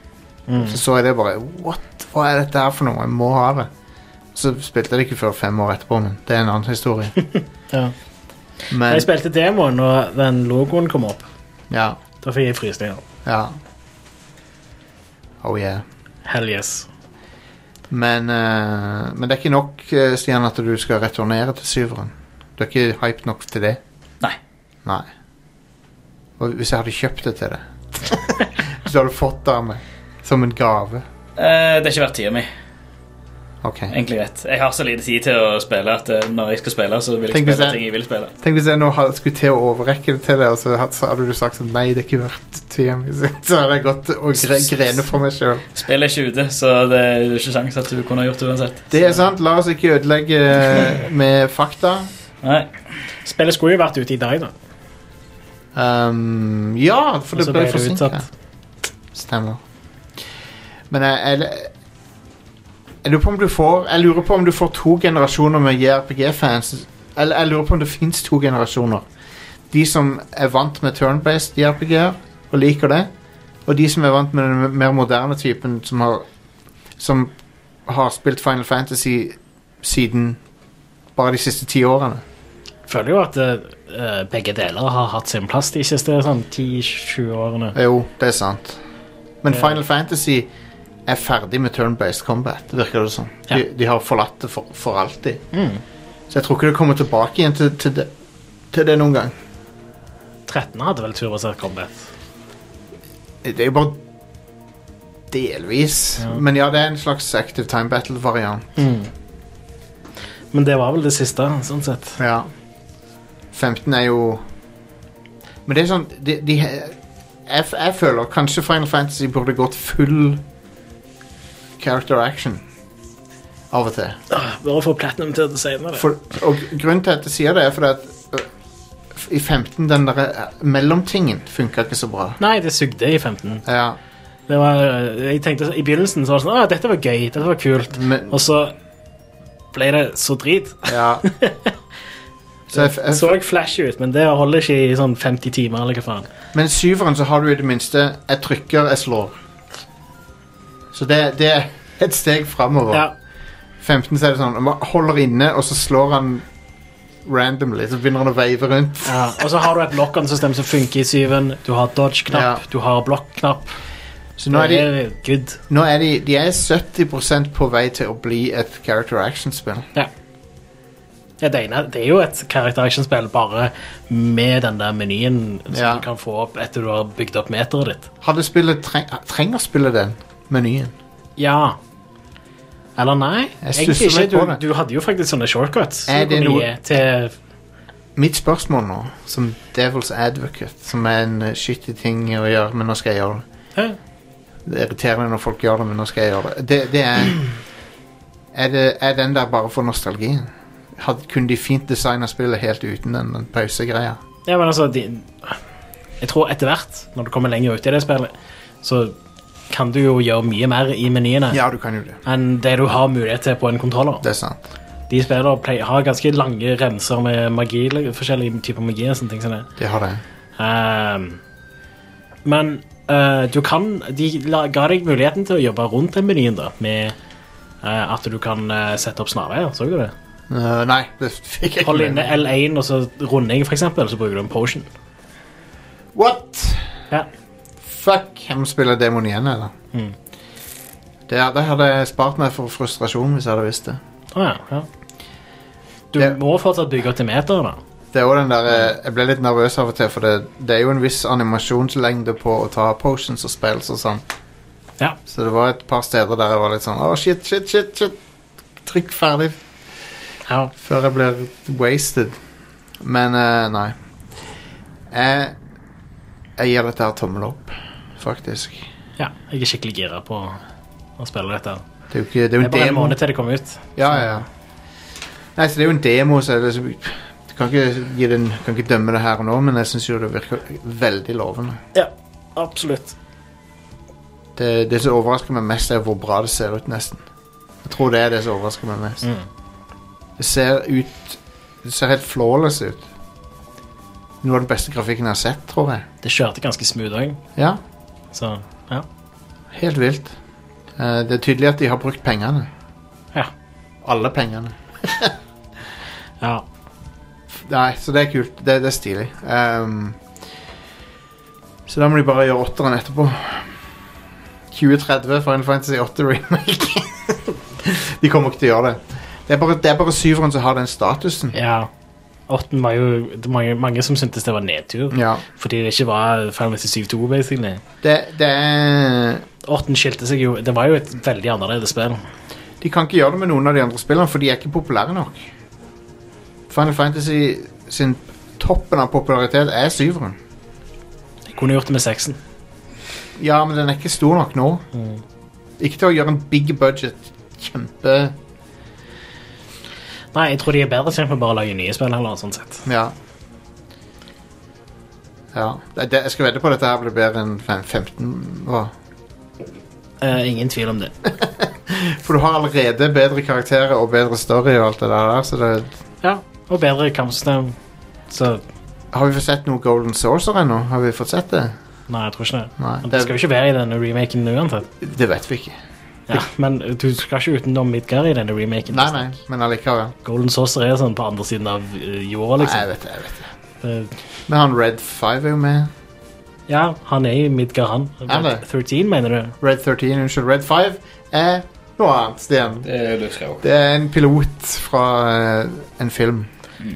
S1: Så er det bare What? Hva er dette her for noe? Jeg må ha det. Så spilte jeg det ikke før fem år etterpå, men det er en annen historie.
S3: Ja.
S1: Men
S3: Jeg spilte demoen, og den logoen kom opp.
S1: ja,
S3: Da fikk jeg frysninger.
S1: ja. Oh yeah.
S3: Hell yes.
S1: Men, eh, men det er ikke nok, eh, Stian, at du skal returnere til syveren. Du er ikke hyped nok til det?
S2: Nei.
S1: Nei. Og hvis jeg hadde kjøpt det til deg Hvis du hadde fått det av meg som en gave
S2: Eh, det har ikke vært tida mi.
S1: Ok.
S2: Egentlig greit. Jeg har så lite tid til å spille at eh, når jeg skal spille, så vil jeg
S1: Tenk hvis
S2: spille
S1: jeg-
S2: ting jeg vil spille.
S1: Tenk hvis jeg nå had- skulle til å overrekke det til deg, og så had- så hadde du sagt sånn Nei, det er ikke verdt tida mi. Så [LAUGHS] så hadde jeg gått og gre grene for meg sjøl.
S2: Spill er ikke ute, så det er jo ikke sjans at du kunne ha gjort det uansett.
S1: Det er sant. La oss ikke ødelegge eh, med fakta.
S2: Nei.
S3: Spillet skulle jo vært ute i dag, da.
S1: Um, ja, for
S3: Og
S1: det
S3: så
S1: ble
S3: ble det
S1: forsinka.
S3: utsatt.
S1: Stemmer. Men jeg, jeg, jeg lurer på om du får Jeg lurer på om du får to generasjoner med JRPG-fans. Eller jeg lurer på om det fins to generasjoner. De som er vant med turn-based JRPG-er og liker det. Og de som er vant med den mer moderne typen, som har, som har spilt Final Fantasy siden bare de siste ti årene.
S3: Føler jo at eh, begge deler har hatt sin plass de siste sånn 10-20 årene.
S1: Jo, det er sant. Men
S3: Ja.
S1: Final Fantasy er ferdig med turn-based combat, virker det som. De,
S3: Ja. Mm.
S1: de har forlatt det for, for alltid. Så jeg tror ikke det kommer tilbake igjen til, til, det, til det noen gang.
S3: 13 hadde vel turbasert combat.
S1: Det er jo bare delvis.
S3: Ja.
S1: Men ja, det er en slags active time battle-variant.
S3: Men det var vel det siste, sånn sett.
S1: Ja. 15 er jo Men det er sånn de, de, jeg, jeg føler kanskje Final Fantasy burde gått full character action av og til.
S3: Ah, Bare få platinum til det senere.
S1: For, og grunnen til at jeg sier det er fordi at øh, i 15 den der øh, mellomtingen funka ikke så bra.
S3: Nei, det sugde i 15.
S1: Ja,
S3: Det var, eh, jeg tenkte så- I begynnelsen så var det sånn Å, dette var gøy. Dette var kult.
S1: men,
S3: Og så ble det så drit. [LAUGHS]
S1: ja. Så jeg, jeg,
S3: Så jeg flashy ut, men det holder ikke i sånn 50 timer. eller hva faen.
S1: men syveren så har du i det minste Jeg trykker, jeg slår. Så det, det er et steg framover.
S3: Ja,
S1: 15 så er det sånn Man holder inne, og så slår han randomly. Så begynner han å veive rundt.
S3: ja. Og så har du et lock-on-system som funker i syven. Du har dodge-knapp,
S1: Ja.
S3: du har block-knapp.
S1: Så nå er de,
S3: Det er good.
S1: nå er de, de er 70 på vei til å bli et character action-spill.
S3: Ja, det, ene, det er jo et character action-spill bare med den der menyen som
S1: Ja.
S3: du kan få opp etter du har bygd opp meteret ditt.
S1: Hadde spillet treng, Trenger spillet den menyen?
S3: Ja. Eller nei?
S1: Jeg
S3: Egentlig
S1: stusser litt
S3: ikke.
S1: på
S3: Du,
S1: det.
S3: du hadde jo faktisk sånne shortcuts.
S1: Er
S3: som du
S1: det
S3: kunne
S1: noe-
S3: gi til
S1: Mitt spørsmål nå, som Devil's Advocate, som er en eh, shitty ting å gjøre, men nå skal jeg gjøre det.
S3: Hæ?
S1: Det er irriterende når folk gjør det, men nå skal jeg gjøre det. Det, det er er, det, er den der bare for nostalgien? Hadde, kunne de fint designa spillet helt uten den, den pausegreia?
S3: Ja, men altså de, Jeg tror etter hvert, når du kommer lenger ut i det spillet, så kan du jo gjøre mye mer i menyene
S1: Ja, du kan jo det.
S3: enn det du har mulighet til på en kontroller.
S1: Det er sant.
S3: De spiller play, har ganske lange renser med magi, eller forskjellige typer magi og sånne ting som det.
S1: Det har det.
S3: Ehm, men eh, du kan De la, ga deg muligheten til å jobbe rundt den menyen, da, med eh, at du kan eh, sette opp snarveier. Så du det?
S1: Eh, nei, det fikk jeg
S3: Hold
S1: med
S3: inne
S1: meg.
S3: L1 og så runding, for eksempel, så bruker du en potion.
S1: What?
S3: Ja.
S1: Fuck! Jeg må spille demon igjen, eller?
S3: Mm.
S1: Det, det hadde jeg spart meg for frustrasjon hvis jeg hadde visst det.
S3: Å ja, ja. Du
S1: Det-
S3: må fortsatt bygge til meter, da.
S1: Det er også den der, eh, Jeg ble litt nervøs av og til, for det, det er jo en viss animasjonslengde på å ta potions og spells og sånn.
S3: Ja.
S1: Så det var et par steder der jeg var litt sånn Å, shit, shit, shit, shit. Trykk ferdig
S3: ja.
S1: før jeg blir wasted. Men eh, nei. Jeg, jeg gir dette her tommel opp, faktisk.
S3: ja. Jeg er skikkelig gira på å spille dette.
S1: Det er jo ikke Det er
S3: Det
S1: jo en
S3: er bare en
S1: demo.
S3: måned til det kommer ut.
S1: Ja, ja, ja. Nei, så det er jo en demo, så er det liksom Du kan ikke, gi den, kan ikke dømme det her og nå, men jeg syns jo det virker veldig lovende.
S3: Ja, absolutt.
S1: Det, det som overrasker meg mest, er hvor bra det ser ut, nesten. Jeg tror det er det som overrasker meg mest.
S3: Mm.
S1: Det ser ut Det ser helt flawless ut. Noe av den beste grafikken jeg har sett, tror jeg.
S3: Det kjørte ganske smooth òg,
S1: Ja.
S3: så ja.
S1: Helt vilt. Eh, det er tydelig at de har brukt pengene.
S3: Ja.
S1: Alle pengene.
S3: Ja.
S1: Nei, så det er kult. Det, det er stilig. Ehm, så da må de bare gjøre åtteren etterpå. 2030 Final Fantasy 8 remake. [LAUGHS] de kommer ikke til å gjøre det. Det er bare, det er bare syveren som har den statusen.
S3: ja. Åtten var jo det var mange, mange som syntes det var nedtur,
S1: Ja.
S3: fordi det ikke var Final Fantasy 7-2, basically.
S1: Det, det er
S3: Åtten skilte seg jo Det var jo et veldig annerledes spill.
S1: De kan ikke gjøre det med noen av de andre spillene, for de er ikke populære nok. Final Fantasy sin toppen av popularitet er syveren.
S3: Jeg kunne gjort det med seksen.
S1: Ja, men den er ikke stor nok nå. Ikke til å gjøre en big budget kjempe...
S3: Nei, jeg tror de er bedre tjent med bare å lage nye spill, heller, sånn sett.
S1: Ja. Ja. Det, det, jeg skal vedde på at dette her blir bedre enn fem- 15 år.
S3: Eh, ingen tvil
S1: [LAUGHS]
S3: om det.
S1: For du har allerede bedre karakterer og bedre story og alt det der, så det
S3: Ja, og bedre kampsystem. Så
S1: Har vi fått sett noe Golden Saucer ennå? Har vi fått sett det?
S3: Nei, jeg tror ikke det.
S1: Nei.
S3: Men
S1: Det,
S3: Det skal jo ikke være i denne remaken uansett.
S1: det vet vi ikke. [LAUGHS]
S3: Ja, men du skal ikke utenom Midgar i denne remaken.
S1: Nei, nei, men allikevel.
S3: Golden Saucer er sånn på andre siden av eh,
S1: Nei,
S3: jorda,
S1: jeg
S3: liksom.
S1: vet det. jeg vet det
S3: Det,
S1: Men han Red 5 er jo med.
S3: ja, han er i Midgar, han.
S1: Er det?
S3: 13, mener du?
S1: Red 13, unnskyld. Red 5 er noe annet, Stian.
S2: Det er Luke Skywalker.
S1: Det er en pilot fra eh, en film.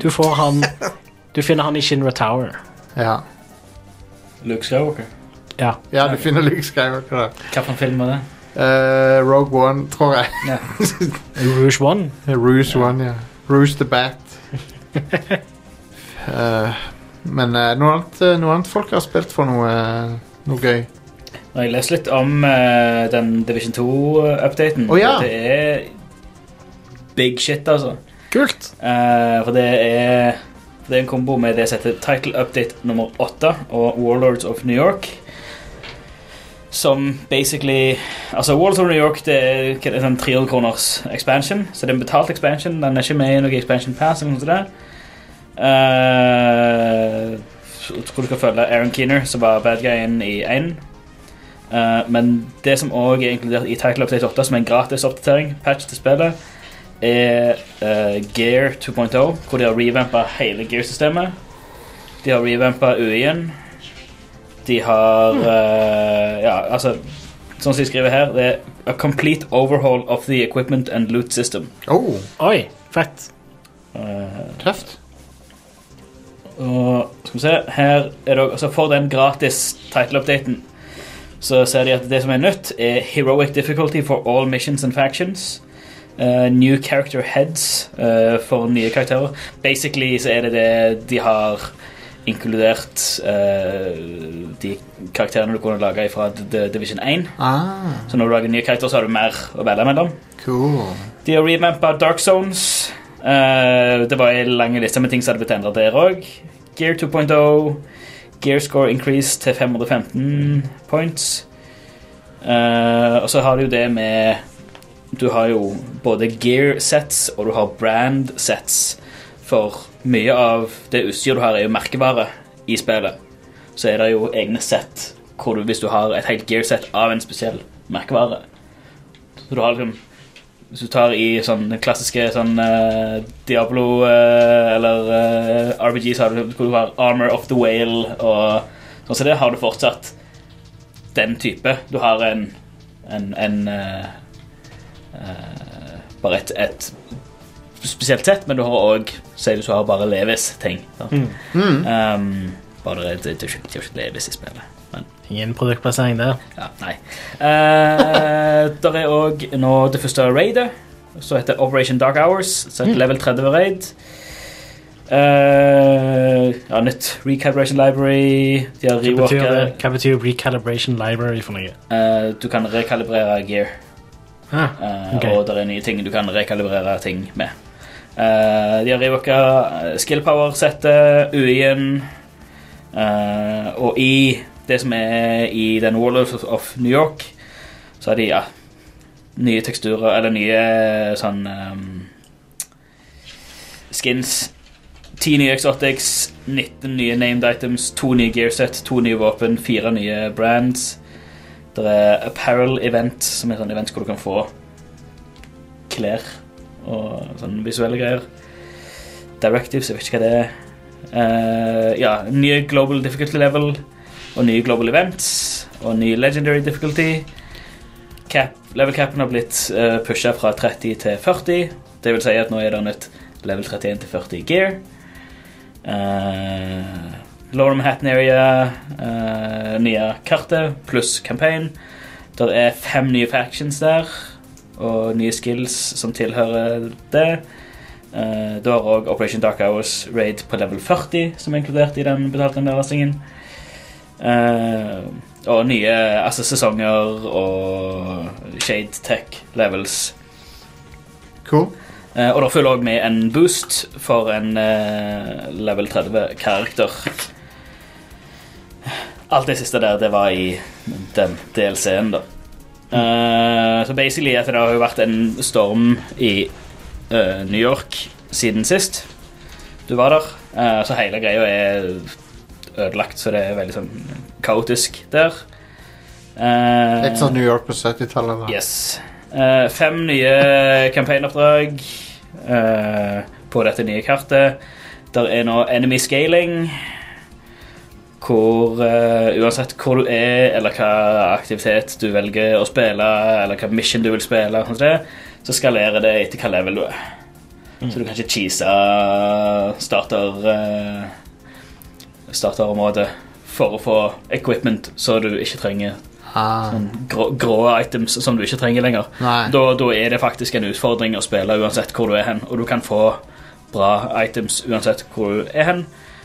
S3: Du får han
S1: [LAUGHS]
S3: Du finner han i Shinra Tower.
S1: Ja.
S2: Luke Skywalker.
S3: Ja.
S1: ja, du finner Luke Skywalker der.
S2: Hvilken film var det?
S1: Eh, Rogue One, tror jeg.
S2: Ja.
S3: Rouge One.
S1: Rouge One, ja. Rouge the Bat.
S2: [LAUGHS]
S1: Eh, men eh, noe, annet, eh, noe annet folk har spilt for noe, eh, noe gøy.
S2: Nå har jeg lest litt om eh, den Division 2-updaten.
S1: Å, ja.
S2: Det er big shit, altså.
S3: Kult!
S2: Eh, for det er Det er en kombo med det som heter Title Update nummer 8 og Warlords of New York. Som basically Altså, Warlords of New York det er hva er det, sånn 300 kroners expansion. Så det er en betalt expansion. Den er ikke med i noe expansion pass eller noe sånt. der. Eh, jeg tror du skal følge Aaron Keener, som var bad guyen i 1. Eh, men det som òg er inkludert i Title Update 8, som er en gratis oppdatering, patch til spillet, er eh, Gear 2.0, hvor de har revampa hele Gear-systemet. De har revampa UI-en. De har eh, Ja, altså Sånn som de skriver her, det er A complete overhaul of the equipment and loot system.
S1: Oh,
S3: Oi, fett.
S2: Eh,
S1: tøft.
S2: Og skal vi se, her er det også, altså For den gratis title-updaten så ser de at det som er nytt, er Heroic difficulty for all missions and factions. eh, new character heads eh, for nye karakterer. Basically så er det det de har inkludert eh, de karakterene du kunne lage fra Division 1.
S1: Ah,
S2: Så når du lager nye karakterer, så har du mer å velge mellom.
S1: cool.
S2: De har revampa Dark Zones. Eh, det var en lang liste med ting som hadde blitt endra der òg. Gear 2.0. Gear score increase til 515 points. Eh, og så har du jo det med Du har jo både gear sets og du har brand sets. For mye av det utstyret du har, er jo merkevare i spillet. Så er det jo egne set hvor du, hvis du har et helt gear set av en spesiell merkevare. Så du har liksom hvis du tar i sånn den klassiske sånn eh, Diablo eh, eller eh, RPG, så har du, hvor du har Armor of the Whale og sånn som det, har du fortsatt den type. Du har en en, en eh, eh, Bare et, et spesielt sett, men du har òg Sier du så har bare Levis-ting. sant? Um, bare det, det, det, er ikke- det er jo ikke Levis i spillet. Men
S3: Ingen produktplassering der.
S2: ja, nei. Eh, [LAUGHS] der er òg nå det første raidet, som heter Operation Dark Hours. Så
S3: Mm.
S2: et level 30 raid. Eh, ja, nytt Recalibration Library. De har
S3: Hva betyr, det?
S2: reworket
S3: Hva betyr recalibration library for noe?
S2: eh, Du kan rekalibrere gear.
S3: Ah,
S2: Eh,
S3: Ok.
S2: Og det er nye ting du kan rekalibrere ting med. Eh, de har eh, reworka skillpower-settet, UI-en eh, Og i det som er i den Warlords of, of New York, så har de ja, nye teksturer Eller nye sånn ehm, Skins. 10 nye exotics, 19 nye named items, 2 nye gearset, 2 nye våpen, 4 nye brands. Det er eh, Apparel Event, som er et sånt event hvor du kan få klær og sånne visuelle greier. Directives, jeg vet ikke hva det er. Eh, ja, nye Global Difficulty Level og nye Global Events og ny Legendary Difficulty. Cap, level capen har blitt uh, pusha fra 30 til 40. Det vil si at nå er det nytt level 31 til 40 gear. Uh, Lower Manhattan Area, eh, nye kartet pluss campaign. Det er fem nye factions der, og nye skills som tilhører det. Uh, du har òg Operation Dark Hours Raid på level 40, som er inkludert i den betalte nedlastingen. Eh, og nye altså sesonger og Shade Tech levels.
S1: Cool.
S2: Eh, og det følger òg med en boost for en eh, level 30-karakter. Alt det siste der, det var i den DLC-en, da. Eh, så basically at det har jo vært en storm i eh, New York siden sist du var der. Eh, så hele greia er ødelagt, så det er veldig sånn kaotisk der. Eh,
S1: Litt sånn New York på 70-tallet. da.
S2: Yes. Eh, fem nye campaignoppdrag eh, på dette nye kartet. Der er nå enemy scaling, hvor eh, uansett hvor du er, eller hva aktivitet du velger å spille, eller hva mission du vil spille, sånn som det, så skalerer det etter hva level du er. Så du kan ikke cheese starter eh, starterområdet for å få equipment så du ikke trenger
S1: Ah,
S2: sånn grå, grå items som du ikke trenger lenger.
S1: Nei.
S2: Da, da er det faktisk en utfordring å spille uansett hvor du er hen, og du kan få bra items uansett hvor du er hen.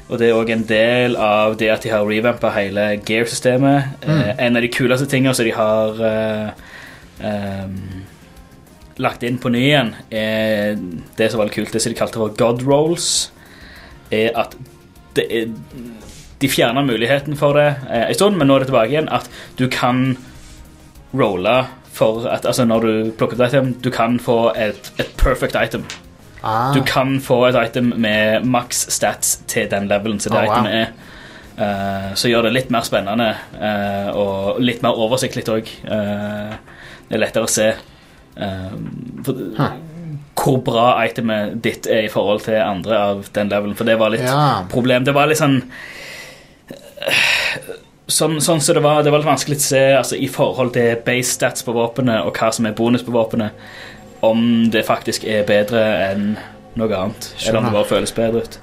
S2: Og det er òg en del av det at de har revampa hele gear-systemet. Eh, en av de kuleste tinga som de har eh, ehm, lagt inn på ny igjen, er det som var litt kult, det som de kalte for god rolls, er at det er de fjerna muligheten for det eh, en stund, men nå er det tilbake igjen at du kan rolle for at altså når du plukker et item, du kan få et, et perfect item.
S1: ah.
S2: Du kan få et item med maks stats til den levelen som det
S1: Oh, wow.
S2: itemet er. Eh, så gjør det litt mer spennende eh, og litt mer oversiktlig òg. det er lettere å se eh, for, hvor bra itemet ditt er i forhold til andre av den levelen, for det var litt
S1: Ja.
S2: problem. Det var litt sånn eh, Sånn, sånn som det var, det var litt vanskelig å se altså, i forhold til base stats på våpenet og hva som er bonus på våpenet, om det faktisk er bedre enn noe annet. Eller om det bare føles bedre ut.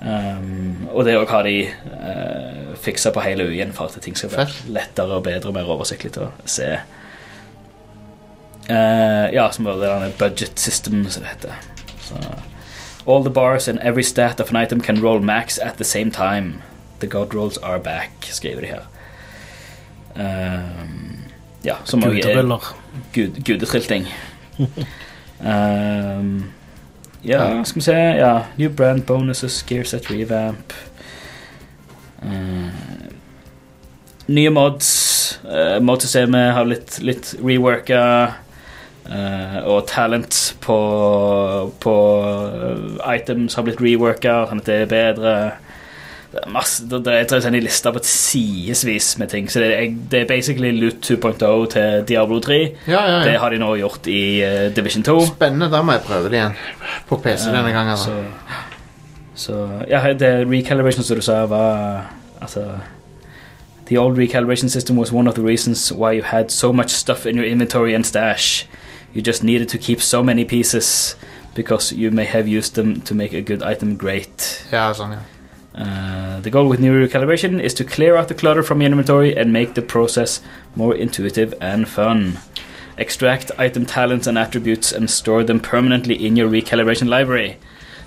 S2: Um, og det òg har de uh, fiksa på hele UI-en for at ting skal være
S1: Fett.
S2: lettere og bedre og mer oversiktlig til å se. Eh, ja, som var det derne budget system, som det heter. Så, All the bars and every stat of an item can roll max at the same time. The god rolls are back, skriver de her. Um, ja, som også er
S3: Gudebuller.
S2: gud, gudetrilting. um, ja, skal vi se ja. New brand bonuses, gear set revamp. Um, nye mods. Uh, modsystemet har blitt litt reworka. Eh, og talent på, på eh, items har blitt reworka, sånn at det er bedre. Det er masse, det, det, jeg tror jeg sender en liste på et sidevis med ting. Så det er, det er basically Loot 2.0 til Diablo 3.
S1: Ja, Ah, ja,
S2: Det
S1: ja.
S2: har de nå gjort i eh, Division 2.
S1: Spennende. Da må jeg prøve det igjen. På PC denne gangen.
S2: Så,
S1: da.
S2: så Ja, det recalibration som du sa, var Altså The old recalibration system was one of the reasons why you had so much stuff in your inventory and stash. You just needed to keep so many pieces because you may have used them to make a good item great.
S1: Ja, sånn, ja.
S2: Uh, the goal with new recalibration is to clear out the clutter from your inventory and make the process more intuitive and fun. Extract item talents and attributes and store them permanently in your recalibration library.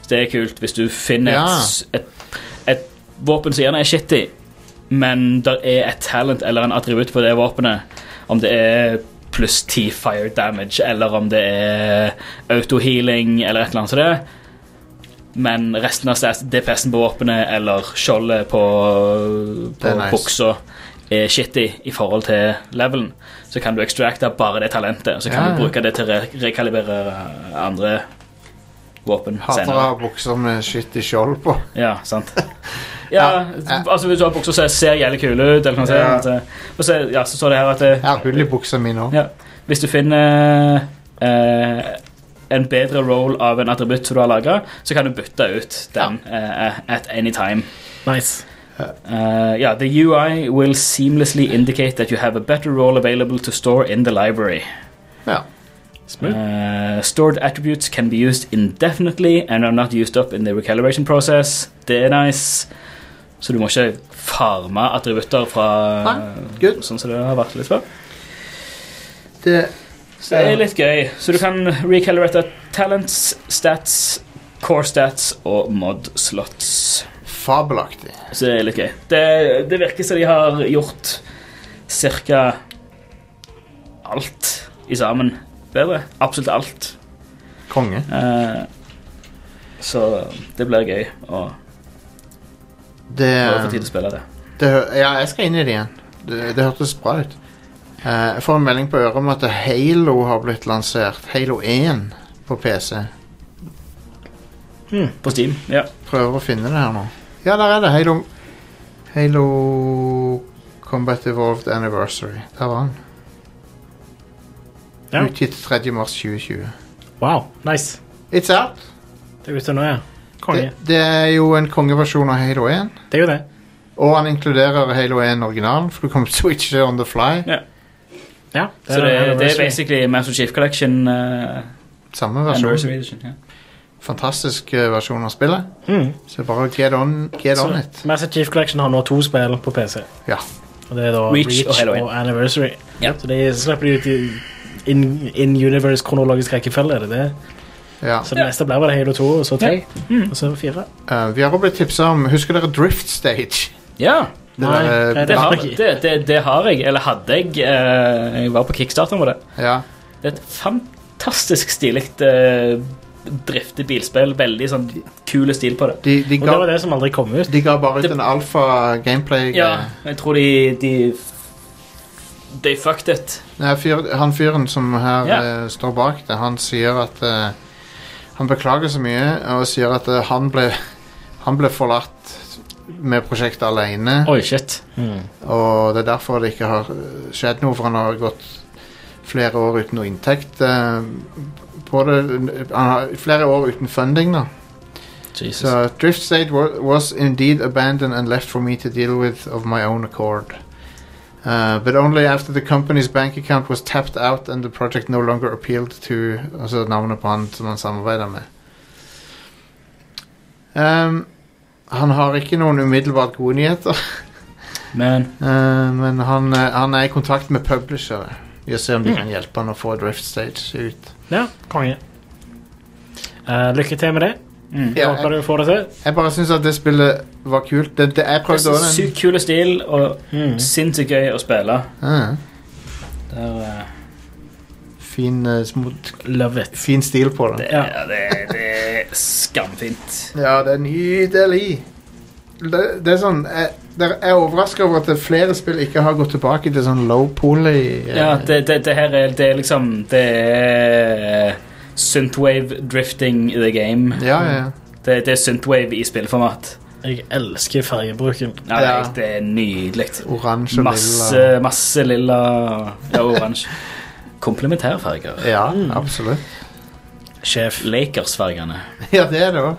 S2: Så det er kult hvis du finner
S1: Ja.
S2: et, s- et, et våpen som gjerne er shitty, men der er et talent eller en attributt på det våpenet. Om det er pluss 10 fire damage, eller om det er autohealing eller et eller annet som det. Men resten av stats, DPS-en på våpenet eller skjoldet på,
S1: Det
S2: på
S1: er nice.
S2: buksa er shitty i forhold til levelen. Så kan du extracte bare det talentet, så kan
S1: Ja, ja.
S2: du bruke det til å re rekalibrere andre våpen
S1: Hater å
S2: senere.
S1: ha bukser med shitty skjold på. [LAUGHS]
S2: Ja, sant. Ja,
S1: Ja.
S2: altså Hvis du har bukser som ser jævlig kule ut, eller hva man sier,
S1: Ja.
S2: at, eh, og så, ja, så står det her at eh,
S1: Jeg har hull i buksa mi nå.
S2: Ja. Hvis du finner eh, en bedre roll av en attributt som du har laga, så kan du bytte ut den eh, at any time.
S3: Nice.
S2: Uh, yeah, the UI will seamlessly indicate that you have a better role available to store in the library.
S1: Ja. Hm.
S3: Smooth.
S2: Uh, stored attributes can be used indefinitely and are not used up in the recalibration process. Det er nice. Så du må ikke farme attributter fra
S1: Nei, good.
S2: sånn som det har vært litt før.
S1: Det,
S2: Så det er litt gøy. Så du kan recalibrate talents, stats, core stats og mod slots.
S1: fabelaktig.
S2: Så det er litt gøy. Det, det virker som de har gjort cirka alt i sammen bedre. Absolutt alt.
S1: Konge.
S2: Eh, så det blir gøy å
S1: Det,
S2: å få tid til å spille det.
S1: det hø- Ja, jeg skal inn i det igjen. Det, det hørtes bra ut. Eh, jeg får en melding på øret om at Halo har blitt lansert. Halo 1 på PC.
S2: På Steam. Ja.
S1: Prøver å finne det her nå. Ja, der er det. Halo Halo Combat Evolved Anniversary. Der var den.
S3: Ja.
S1: Utgitt 3. mars 2020.
S3: Wow, nice.
S1: It's out.
S3: Det er ute nå, ja. Konge.
S1: Det, det er jo en kongeversjon av Halo 1.
S3: Det, er jo det.
S1: Og han inkluderer Halo 1-originalen, for du kan switche on the fly.
S2: Ja.
S3: Ja, en
S2: Så det, det er
S3: anniversary.
S2: basically Master Chief Collection. eh,
S1: Samme versjon.
S2: anniversary edition, ja.
S1: Fantastisk eh, versjon av spillet.
S3: Mm.
S1: Så bare get on, get on it.
S3: Så Massive Chief Collection har nå to spill på PC.
S1: Ja.
S3: Og det er da
S2: Reach
S3: Reach,
S2: og Halo
S3: og,
S2: 1.
S3: Anniversary.
S2: Ja.
S3: Så de slipper de ut i in, in universe kronologisk rekkefølge. Er det det?
S1: ja.
S3: Så det neste blir vel Halo 2, og så 3,
S2: Mm.
S3: og så 4.
S1: Eh, vi har også blitt tipsa om Husker dere Drift Stage?
S2: ja.
S1: Det
S3: Nei,
S1: der, eh,
S3: nei,
S2: Det
S3: har
S2: har,
S3: jeg ikke.
S2: det, det, det har jeg. Eller hadde jeg. eh, jeg var på kickstarter med det.
S1: Ja.
S2: Det er et fantastisk stilig uh, driftig bilspill. Veldig sånn kul stil på det.
S1: De, de,
S3: Og det var
S1: ga,
S3: det som aldri kom ut.
S1: de ga bare ut
S2: Det-
S1: en alfa gameplay
S2: Ja, jeg tror de De, de fucked it.
S1: Nei, fyr, Han fyren som her
S2: Ja.
S1: eh, står bak det, han sier at eh, Han beklager så mye og sier at eh, han ble Han ble forlatt med prosjektet alene.
S2: Oi, shit.
S1: Og det er derfor det ikke har øh, skjedd noe, for han har gått flere år uten noe inntekt eh, på det. Han har flere år uten funding, da. Så
S2: Jesus.
S1: Drift State wa- was indeed abandoned and left for me to deal with of my own accord. Uh, but only after the company's bank account was tapped out and the project no longer appealed to Altså navnet på han som han samarbeider med. Um, han har ikke noen umiddelbart gode nyheter.
S2: Men
S1: Eh, men han, eh, han er i kontakt med publishere. Vi får se om de
S2: Mm.
S1: kan hjelpe han å få Drift Stage ut.
S3: Ja, konge. Eh, lykke til med det.
S2: mm.
S1: Ja,
S3: Håper
S1: jeg,
S3: du får det til.
S1: jeg bare syns at det spillet var kult. Det, det, jeg
S2: det er
S1: prøvde
S2: så
S1: også den.
S2: sykt kul stil og sinnssykt gøy å spille.
S1: Ah,
S2: Det er, eh,
S1: fin, eh, smooth,
S3: Love it.
S1: fin stil på det.
S2: det,
S3: Ja.
S2: ja, det, det er skamfint.
S1: Ja, det er nydelig. Det, det er sånn Jeg, det, jeg er overraska over at det er flere spill ikke har gått tilbake til sånn low poly eh,
S2: Ja, det, det, det her er, det er liksom Det er Synthwave drifting i the game.
S1: ja, ja, ja.
S2: Det, det er Synthwave i spillformat.
S3: Jeg elsker fargebruken.
S2: Ja,
S1: Ja.
S2: det- Det er eh, nydelig.
S1: Oransje og lilla.
S2: Masse, masse lilla ja, oransje. Komplementærfarger.
S1: Ja, absolutt. [LAUGHS]
S2: Sjef. Lakersfargene.
S1: Ja, det er det òg.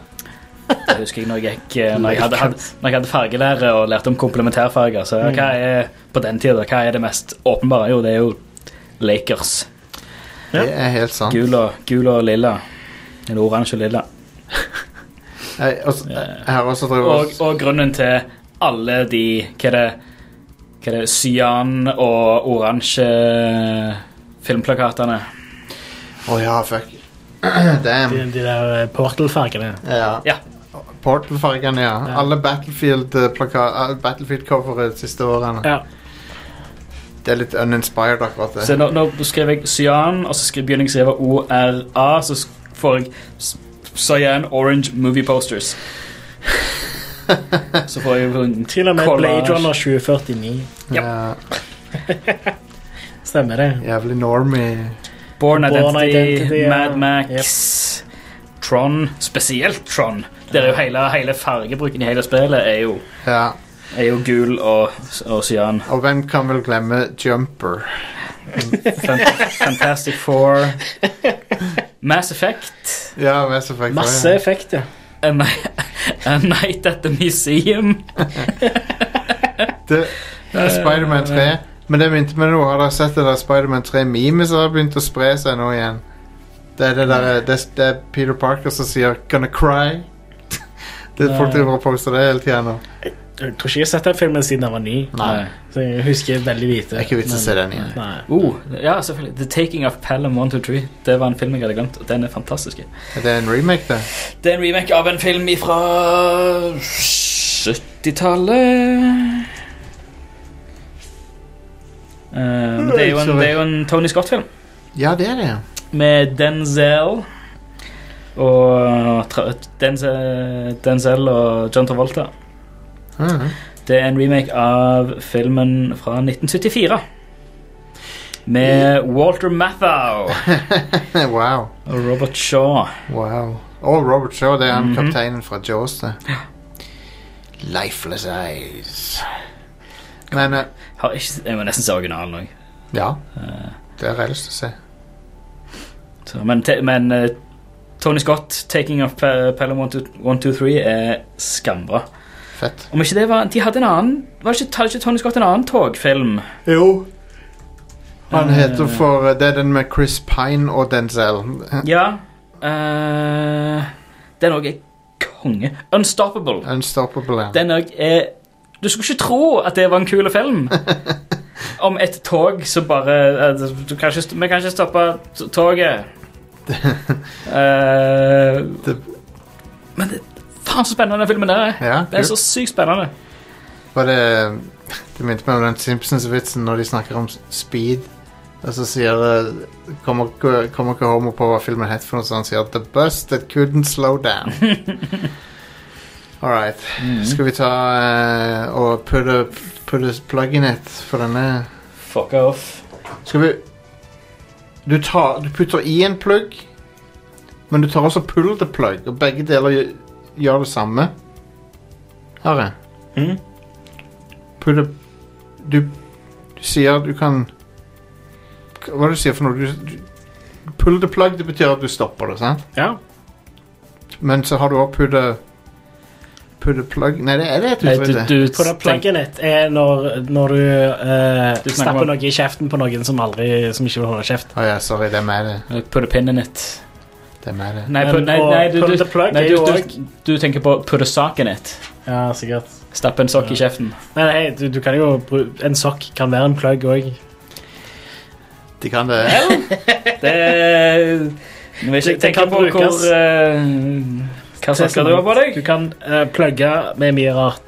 S2: Det husker jeg når jeg gikk eh, Når jeg hadde, hadde, når jeg hadde fargelære og lærte om komplementærfarger. Så ja,
S1: Mm.
S2: hva er på den tiden, hva er det mest åpenbare? Jo, det er jo Lakers.
S3: Ja.
S1: Det er helt sant.
S2: Gul og, gul og lilla. Eller oransje og lilla.
S1: Jeg, også, jeg har også drevet
S2: Og, og grunnen til alle de Hva er det? Hva er det? Cyan og oransje filmplakatene.
S1: Å ja, fuck. [CLEARS THROAT] Damn.
S3: De, de der eh, Portal-fargene.
S1: Ja.
S2: Ja.
S1: Portal-fargene, ja.
S3: Ja.
S1: Alle eh, Battlefield-coveret Battlefield de siste årene.
S3: Ja.
S1: Det er litt uninspired, akkurat
S2: Så
S1: det.
S2: nå, nå skrev jeg cyan, og så skri- begynner jeg å skrive ORA, så sk- får jeg s- cyan orange movie posters. Så får jeg jo en
S3: Til og med Blade
S2: collage.
S3: Runner 2049.
S2: ja.
S1: Ja,
S3: Stemmer det.
S1: jævlig normie.
S2: Born
S3: Born
S2: Identity,
S3: Identity, ja.
S2: Mad Max, Tron, spesielt Tron. Der er jo hele, hele fargebruken i hele spillet er jo,
S1: Ja.
S2: er jo gul og, og cyan.
S1: Og hvem kan vel glemme Jumper?
S3: [LAUGHS]
S2: Fan- Fantastic Four. Mass Effect.
S1: Ja, Mass Effect.
S3: Masse effekter.
S2: A, ni- [LAUGHS] a Night at the Museum.
S1: Det, det er Spiderman 3.
S3: Eh,
S1: Men det begynte med noe. Har dere sett det der Spiderman 3-memet som har begynt å spre seg nå igjen? Det er det der, det, det er Peter Parker som sier 'gonna cry'. [LAUGHS] Det er Folk
S3: Nei.
S1: driver og poster det hele tida nå.
S3: Jeg tror ikke jeg har sett den filmen siden den var ny. Så jeg husker veldig lite.
S1: Det er ikke vits å
S3: men-
S1: se den igjen.
S3: Nei.
S2: Uh, ja, selvfølgelig. The Taking of Pelham 123. Det var en film jeg hadde glemt, og den er fantastisk.
S1: Er det en remake, det?
S2: Det er en remake av en film fra 70-tallet. Eh, men det, er jo en, det er jo en Tony Scott-film.
S1: Ja, det er det. ja.
S2: med Denzel og tra Denzel, Denzel og John Travolta.
S1: Mhm.
S2: Det er en remake av filmen fra 1974. Med Walter Matthau
S1: [LAUGHS] wow.
S2: og Robert Shaw.
S1: wow. Og Robert Shaw. Det er han
S2: Mhm.
S1: kapteinen fra Jaws, det. [GASPS] Lifeless eyes. Men eh,
S2: Har ikke, jeg må nesten se originalen òg.
S1: Ja.
S3: Eh.
S1: Det har jeg lyst til å se.
S2: Men, te- men eh, Tony Scott, 'Taking of eh, Pe- Pelham 123', er skambra.
S1: Fett.
S2: Om ikke det var De hadde en annen Var det ikke, hadde ikke Tony Scott en annen togfilm?
S1: Jo. Han
S2: Eh.
S1: heter for Det er den med Chris Pine og Denzel.
S2: Ja. eh, den òg er konge. Unstoppable.
S1: Unstoppable. ja.
S2: Den òg er Du skulle ikke tro at det var en kul
S3: [LAUGHS]
S2: film. Om et tog som bare eh, du kan ikke, st- Vi kan ikke stoppe t-
S3: [LAUGHS]
S2: toget. Eh,
S1: Det-
S2: men det, faen, så spennende den filmen der er.
S1: Ja,
S2: Det er
S1: jo.
S2: så sykt spennende.
S1: Var det Det minte meg om den Simpsons-vitsen når de snakker om s- speed. Og så sier det Kommer ikke kommer ikke homo på hva filmen het, for noe sånt. Sier The bus that couldn't slow
S2: [LAUGHS]
S1: down. All right.
S2: Mm.
S1: Skal vi ta eh, og put a, put a plug in it for denne?
S2: Fuck off.
S1: Skal vi du, tar, du putter i en plugg, men du tar også pull the plug, og begge deler gjør, gjør det samme. Her er Mm.
S3: Mhm.
S1: Put a, du, du sier du kan Hva er det du sier for noe? Du, du, pull the plug, det betyr at du stopper det, sant?
S3: Ja.
S1: Men så har du også put a Put a plug Nei, det er det et
S2: Nei,
S1: uttrykk.
S2: du,
S1: det.
S2: du,
S3: På det plugget ditt er når, når du, eh,
S2: Du snakker
S3: stapper
S2: om-
S3: noe i kjeften på noen som, aldri, som ikke vil holde kjeft.
S1: Å ja, sorry. Det er meg, det.
S2: tenk- Put a pin in it.
S1: Det er meg, det.
S2: Nei, put,
S3: Men
S2: nei,
S3: å
S2: nei, du,
S3: pull
S2: du,
S3: the plug
S2: nei
S3: er
S2: du,
S3: jo
S2: du, du tenker på put a sock in it.
S3: Ja, sikkert.
S2: Stappe en sokk i kjeften.
S3: Nei, nei du, du kan jo bru- En sokk kan være en plugg òg.
S1: De kan det.
S2: Det Jeg vet
S3: Det-
S2: ikke
S3: det
S2: tenke
S3: kan
S2: på
S3: brukes.
S2: hvor eh, Hva sokker du har på deg.
S3: Du kan eh, plugge med mye rart.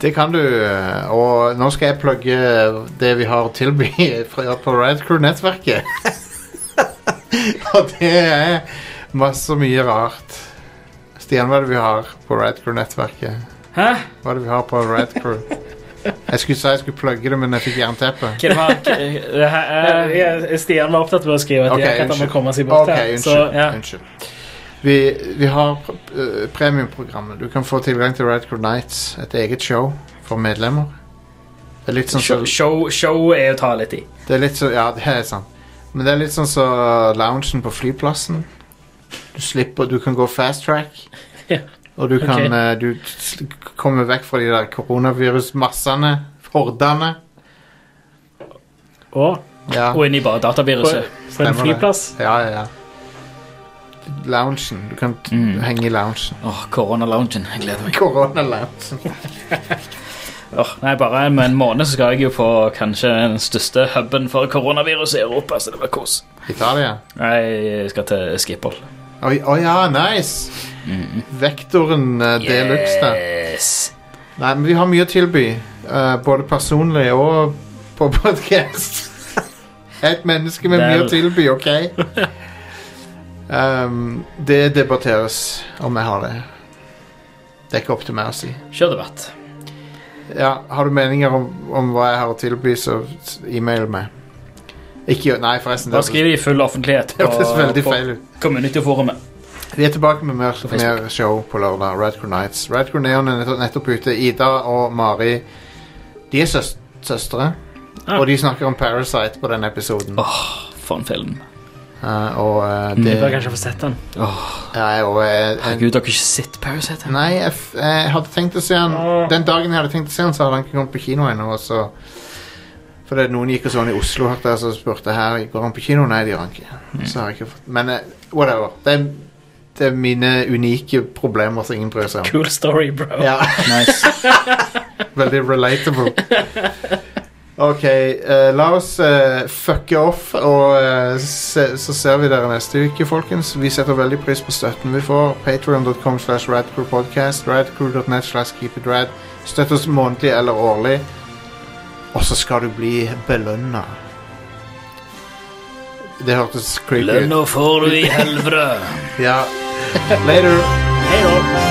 S1: Det kan du, eh, og nå skal jeg plugge det vi har å tilby [LAUGHS] fra- på Riot Crew-nettverket. [LAUGHS] og det er masse mye rart. Stian, hva er det vi har på Riot Crew-nettverket?
S2: Hæ?
S1: Hva er det vi har på Riot Crew? Jeg skulle si jeg skulle plugge det, men jeg fikk jernteppe.
S2: Hva det var det her, eh,
S3: Eh, Stian var opptatt med å skrive at
S1: Ok,
S3: jeg kan
S1: unnskyld.
S3: må komme seg bort
S1: Ok,
S3: her.
S1: unnskyld.
S3: Så,
S2: ja.
S1: unnskyld. Vi, vi har eh, premiumprogrammet. Du kan få tilgang til Riot Crew Nights, et eget show for medlemmer. Det er litt sånn
S2: show,
S1: som-
S2: show, show er å ta litt i.
S1: Det er litt så, ja, det er sant. Men det er litt sånn som loungen på flyplassen. Du slipper, du kan gå fast track.
S3: [LAUGHS] Ja.
S1: Og du kan
S3: Ok.
S1: eh, du sl- komme vekk fra de der koronavirusmassene, hordene.
S3: og
S1: Ja,
S2: Og inn i bare
S3: på, på
S2: dataviruset.
S3: en
S1: Stemmer det.
S3: flyplass
S1: ja, ja. Loungen. Du kan t-
S2: Mm.
S1: henge i loungen.
S2: Åh, Koronaloungen. Jeg gleder meg.
S1: Koronaloungen.
S2: Åh, nei, Bare om en måned så skal jeg jo på kanskje den største huben for koronavirus i Europa. Så det blir kos.
S1: Italia.
S2: Jeg skal til Skiphol.
S1: Å å ja, nice! Mm. Vektoren uh, deluxe, da.
S2: Yes.
S1: Nei, men vi har mye å tilby. eh, både personlig og på [LAUGHS] podkast. Et menneske med mye
S2: Vel.
S1: å tilby, OK? Um, det debatteres om jeg har det. Det er ikke opp til meg å si.
S2: Kjør debatt.
S1: Ja, Har du meninger om, om hva jeg har å tilby, så s- e-mail meg. Ikke gjør Nei, forresten.
S2: Bare
S1: Det [LAUGHS]
S2: skriv i full offentlighet
S1: hørtes
S2: på,
S1: veldig
S2: på
S1: feil ut.
S2: community-forumet.
S1: Vi er tilbake med mer,
S2: Facebook.
S1: mer show på lørdag. Radcrow Nights. Radcrow Neon er nettopp, nettopp ute. Ida og Mari De er søs søstre.
S2: Ah.
S1: Og de snakker om Parasite på den episoden.
S2: For en film.
S1: Eh, og eh,
S3: Jeg bør
S1: det
S3: kanskje få sett den.
S1: ja, og, eh, en,
S2: Herregud, dere har ikke sett Parasite? her?
S1: Nei, jeg, f jeg hadde tenkt å se han Den dagen jeg hadde tenkt å se han, så hadde han ikke kommet på kino ennå. og så- Fordi noen gikk og så han i Oslo hørte jeg, så spurte her Går han på kino. Nei, det gjør han
S2: Mm.
S1: ikke. Så har jeg ikke fått Men eh, whatever. Det er, det er mine unike problemer som ingen bryr seg om.
S3: Cool story, bro.
S1: Ja.
S2: Nice.
S1: Veldig relatable. [LAUGHS] Ok, eh, la oss eh, fucke off, og eh, se, så ser vi dere neste uke, folkens. Vi setter veldig pris på støtten vi får. Patreon.com slash radcrewpodcast, radcrew.net slash keepitrad. Støtt oss månedlig eller årlig, og så skal du bli belønna. Det hørtes creepy ut.
S2: får du i helvete.
S1: Ja. Later.
S3: Hei da.